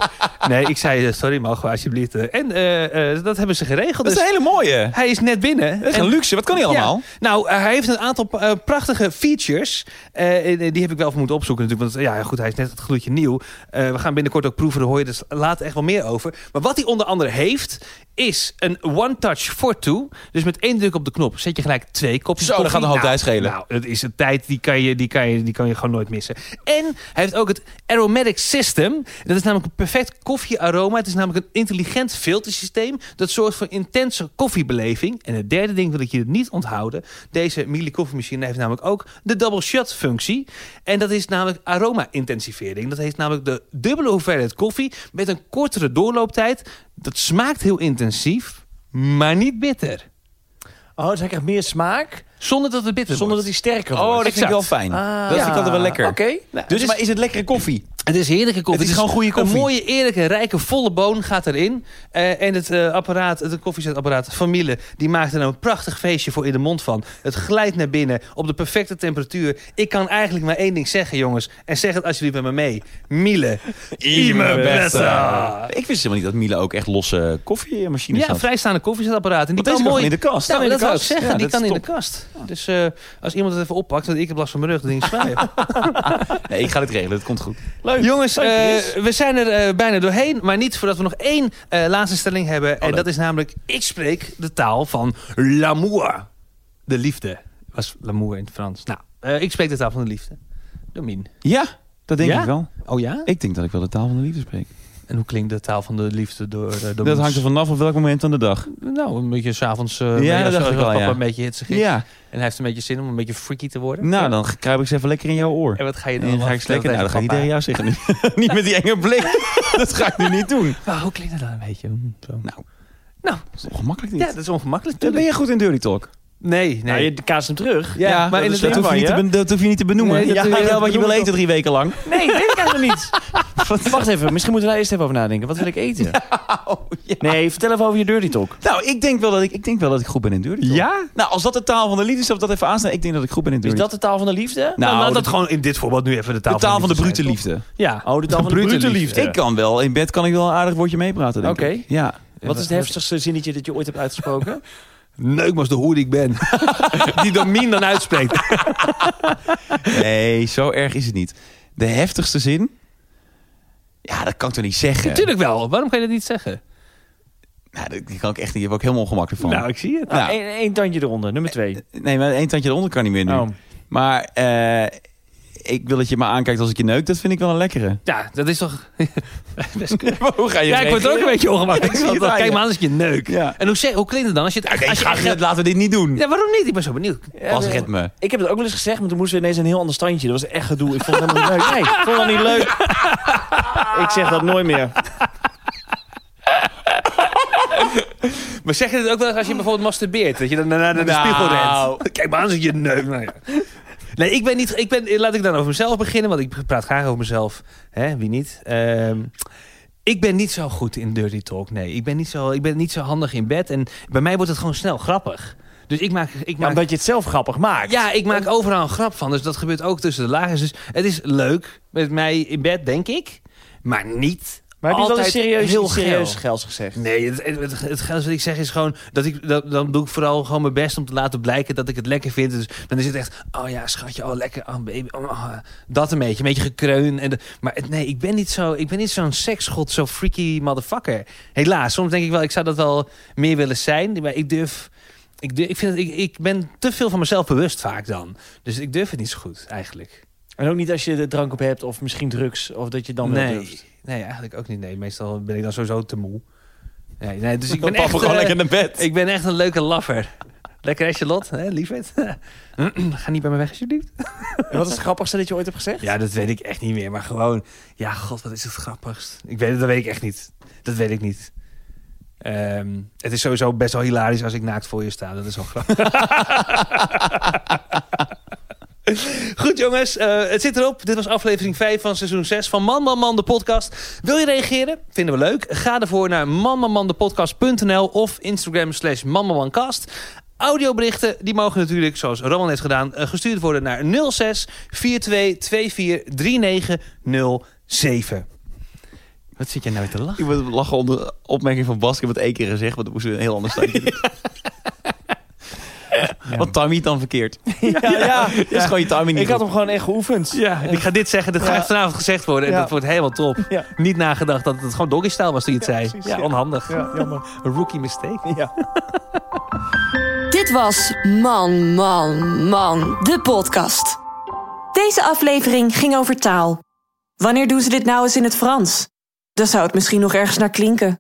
S2: Nee, ik zei, eh, sorry mogen we alsjeblieft. eh, En eh, eh, dat hebben ze geregeld.
S3: Dat is
S2: Dus
S3: een hele mooie.
S2: hij is net binnen.
S3: Dat is
S2: En-
S3: een luxe. Wat kan die allemaal?
S2: ja. Nou, eh, hij heeft een aantal pa- eh, prachtige features. Eh, en, eh, die heb ik wel even moeten opzoeken natuurlijk. Want eh, ja, goed, hij is net het gloedje nieuw. Eh, we gaan binnenkort ook proeven, daar hoor je dus later echt wel meer over. Maar wat hij onder andere heeft, is een One Touch for Two. Dus met één druk op de knop zet je gelijk twee kopjes
S3: Zo, dan
S2: koffie.
S3: gaat een hoop
S2: Nou,
S3: tijd schelen.
S2: Nou, dat is een tijd die kan, je, die, kan je, die kan je gewoon nooit missen. En hij heeft ook het Aromatic System. Dat is namelijk een perfect koffiearoma. Het is namelijk een intelligent filtersysteem. Dat zorgt voor intense koffiebeleving. En het derde ding wil ik je niet onthouden. Deze Miele koffiemachine heeft namelijk ook de double shot functie. En dat is namelijk aroma-intensivering. Dat heeft namelijk de dubbele hoeveelheid koffie met een kortere doorlooptijd. Dat smaakt heel intensief, maar niet bitter.
S1: Oh, dus hij krijgt meer smaak
S2: Zonder dat het bitter
S1: zonder dat
S2: wordt.
S1: hij sterker
S3: Oh,
S1: wordt.
S3: dat vind ik
S2: Exact.
S3: wel fijn.
S1: Ah.
S3: dat vind ik altijd wel lekker.
S1: Oké.
S3: Nou, dus,
S2: dus-
S3: maar is het lekkere koffie?
S2: Het is heerlijke koffie.
S3: Het is gewoon goede koffie.
S2: Een mooie, eerlijke, rijke, volle boon gaat erin. Eh, en het eh, apparaat, het koffiezetapparaat Familie, die maakt er nou een prachtig feestje voor in de mond van. Het glijdt naar binnen op de perfecte temperatuur. Ik kan eigenlijk maar één ding zeggen, jongens. En zeg het alsjeblieft met me mee. Miele. Ime beste.
S3: Ik wist helemaal niet dat Miele ook echt losse koffiemachines
S2: Ja,
S3: had.
S2: een vrijstaande koffiezetapparaat. En die
S3: Want deze
S2: kan
S3: kan
S2: mooi...
S3: gewoon in de kast.
S2: Nou,
S3: Kan in
S2: dat
S3: de
S2: wou ik
S3: kast.
S2: zeggen.
S3: Ja,
S2: die
S3: dat
S2: kan
S3: is
S2: in de kast. Dus eh, als iemand het even oppakt, want ik heb last van mijn rug, dan ding zwaaien.
S3: Nee, ik ga dit regelen. Het komt goed.
S1: Leuk.
S2: Jongens,
S1: Leuk,
S2: eh,
S1: Chris.
S2: we zijn er eh, bijna doorheen. Maar niet voordat we nog één eh, laatste stelling hebben. en
S3: leuk.
S2: dat is namelijk, ik spreek de taal van l'amour. De liefde. Was l'amour in het Frans. Nou, eh, ik spreek de taal van de liefde. Domien.
S3: Ja, dat denk
S2: Ja?
S3: ik wel.
S2: Oh ja?
S3: Ik denk dat ik wel de taal van de liefde spreek.
S2: En hoe klinkt de taal van de liefde door eh Domien?
S3: Dat hangt er vanaf op welk moment van de dag.
S2: Nou, een beetje s'avonds. eh
S3: Ja,
S2: middags,
S3: dat dacht
S2: als
S3: ik al,
S2: papa
S3: ja.
S2: een beetje hitsig is.
S3: Ja,
S2: En hij heeft een beetje zin om een beetje freaky te worden.
S3: nou dan kruip ik ze even lekker in jouw oor.
S2: En wat ga je
S3: En
S2: dan?
S3: dan ga ik ze lekker... Nou, dat ga ik niet tegen jou zeggen. Niet met die enge blik. Dat ga ik nu niet doen.
S2: Maar hoe klinkt dat dan een beetje? Hm, Zo.
S3: Nou.
S2: Nou,
S3: Dat is ongemakkelijk
S2: ja,
S3: niet.
S2: dat is ongemakkelijk.
S3: Dan ben je goed in dirty talk.
S2: Nee,
S1: Nou,
S2: nee.
S1: je kaast hem terug.
S2: Ja, maar in het
S3: dat,
S2: ding
S3: hoef je niet te
S1: waar,
S3: ben- dat hoef je niet te benoemen.
S2: Nee, dat
S3: ja,
S2: doe je
S3: ik
S2: wel,
S3: wat je
S2: benoem
S3: wil
S2: ik
S3: eten drie weken lang.
S1: Nee, dat weet ik helemaal niet. Wat- Nou, Wacht even, misschien moeten we daar eerst even over nadenken. Wat wil ik eten? Nee, vertel even over je dirty talk.
S3: Nou, ik denk wel dat ik, ik, denk wel dat ik goed ben in dirty talk.
S2: Ja?
S3: Nou, als dat de taal van de liefde is, of dat even aanstaan. Ik denk dat ik goed ben in
S1: Is
S3: dirty
S1: dat de taal van de liefde?
S3: Nou,
S2: Nou, laat
S3: dat-
S2: dat gewoon in dit voorbeeld nu even de taal,
S3: de taal van de brute
S2: zijn,
S3: liefde.
S2: toch? Ja.
S1: Oh, de taal van de brute liefde.
S3: Ik kan wel, in bed kan ik wel een aardig woordje meepraten, denk
S1: Oké.
S3: ik. Ja.
S1: Wat is het heftigste zinnetje dat je ooit hebt uitgesproken?
S2: Leuk maar de hoe ik ben. Die Domien dan uitspreekt.
S3: Nee, zo erg is het niet. De heftigste zin? Ja, dat kan ik toch niet zeggen?
S2: Natuurlijk wel. Waarom kan je dat niet zeggen?
S3: Nou, dat die kan ik echt niet. Hier word ik helemaal ongemakkelijk van.
S2: ik zie het.
S3: Nou,
S1: Eén één tandje eronder, nummer twee.
S3: nee, maar één tandje eronder kan niet meer nu.
S1: Oh.
S3: Maar eh, ik wil dat je me aankijkt als ik je neuk. Dat vind ik wel een lekkere.
S2: Ja, dat is toch... Best kunnen.
S3: Hoe ga je
S2: ja, ik word er ook een beetje ongemakkelijk.
S3: zie
S2: Want
S3: het
S2: dan
S3: aan
S2: kijk
S3: je.
S2: maar aan als je neuk.
S3: Ja.
S2: En hoe, zeg- hoe klinkt het dan als je het...
S3: Oké,
S2: als je
S3: schat,
S2: echt-
S3: laten we dit niet doen.
S2: ja, waarom niet? Ik ben zo benieuwd.
S3: Als
S1: Ja,
S3: red me.
S1: Eh, Ik heb het ook wel eens gezegd, maar toen moesten we ineens een heel ander standje. Dat was echt gedoe. Ik vond het helemaal niet leuk. Nee, ik vond het niet leuk. Ik zeg dat nooit meer.
S2: Maar zeg je het ook wel eens als je bijvoorbeeld masturbeert? Dat je dan naar de
S3: Nou.
S2: spiegel rent. Kijk maar aan als je neuk. Nou ja. Nee, ik ben niet... Ik ben, laat ik dan over mezelf beginnen, want ik praat graag over mezelf. Hè, wie niet? Ehm, ik ben niet zo goed in dirty talk, nee. Ik ben, niet zo, ik ben niet zo handig in bed. En bij mij wordt het gewoon snel grappig. Dus ik maak... Ik
S1: Ja,
S2: maak
S1: omdat je het zelf grappig maakt.
S2: ja, ik maak overal een grap van. Dus dat gebeurt ook tussen de lagers. Dus het is leuk met mij in bed, denk ik. Maar niet
S1: maar heb je wel
S2: altijd
S1: eens serieus,
S2: heel
S1: heel serieus
S2: geil.
S1: gels gezegd?
S2: Nee, het, het, het, het geld wat ik zeg is gewoon dat ik dat, dan doe ik vooral gewoon mijn best om te laten blijken dat ik het lekker vind. Dus dan is het echt, oh ja, schatje, oh lekker, oh baby, oh, oh, dat een beetje, een beetje gekreun. En de- maar het- nee, ik ben niet zo, ik ben niet zo'n seksgod, zo freaky motherfucker. Helaas, soms denk ik wel, ik zou dat wel meer willen zijn, maar ik durf. Ik, durf, ik, vind dat, ik, ik ben te veel van mezelf bewust vaak dan. Dus ik durf het niet zo goed, eigenlijk.
S1: En ook niet als je er drank op hebt of misschien drugs. Of dat je dan wel
S2: nee,
S1: durft.
S2: nee, eigenlijk ook niet. Nee, meestal ben ik dan sowieso te moe. Nee, nee, dus ik ben
S3: Papa
S2: echt...
S3: gewoon
S2: eh,
S3: lekker naar bed.
S2: ik ben echt een leuke laffer. Lekker hè, Charlotte, hè, lieverd. Ga niet bij me weg, alsjeblieft.
S1: En wat is het grappigste dat je ooit hebt gezegd?
S2: Ja, dat weet ik echt niet meer. Maar gewoon, ja, god, wat is het grappigst. Ik weet, dat weet ik echt niet. Dat weet ik niet. Ehm, het is sowieso best wel hilarisch als ik naakt voor je sta. Dat is wel grappig. Goed jongens, eh, het zit erop. Dit was aflevering 5 van seizoen 6 van Man Man Man de podcast. Wil je reageren? Vinden we leuk. Ga ervoor naar manmanmandepodcast.nl of Instagram slash manmanmancast. Audioberichten, die mogen natuurlijk, zoals Roman heeft gedaan, eh, gestuurd worden naar 06 42 24 3907. Wat zit jij nou weer te lachen?
S3: Ik moet lachen onder de opmerking van Bas. Ik heb het één keer gezegd, want dat moesten we een heel ander standje doen. Wat Tammy dan verkeerd.
S1: Ja, ja.
S3: Dat is gewoon je timing niet
S1: Ik had
S3: goed.
S1: hem gewoon echt geoefend.
S2: Ja, ik ga dit zeggen, dat gaat vanavond gezegd worden. En
S1: Ja.
S2: dat wordt helemaal top.
S1: Ja.
S2: Niet nagedacht dat het gewoon doggy-style was toen je het zei.
S1: precies,
S2: ja,
S1: ja.
S2: onhandig.
S1: Ja, jammer.
S2: Een rookie mistake.
S1: Ja.
S4: Dit was Man, Man, Man, de podcast. Deze aflevering ging over taal. Wanneer doen ze dit nou eens in het Frans? Dan zou het misschien nog ergens naar klinken.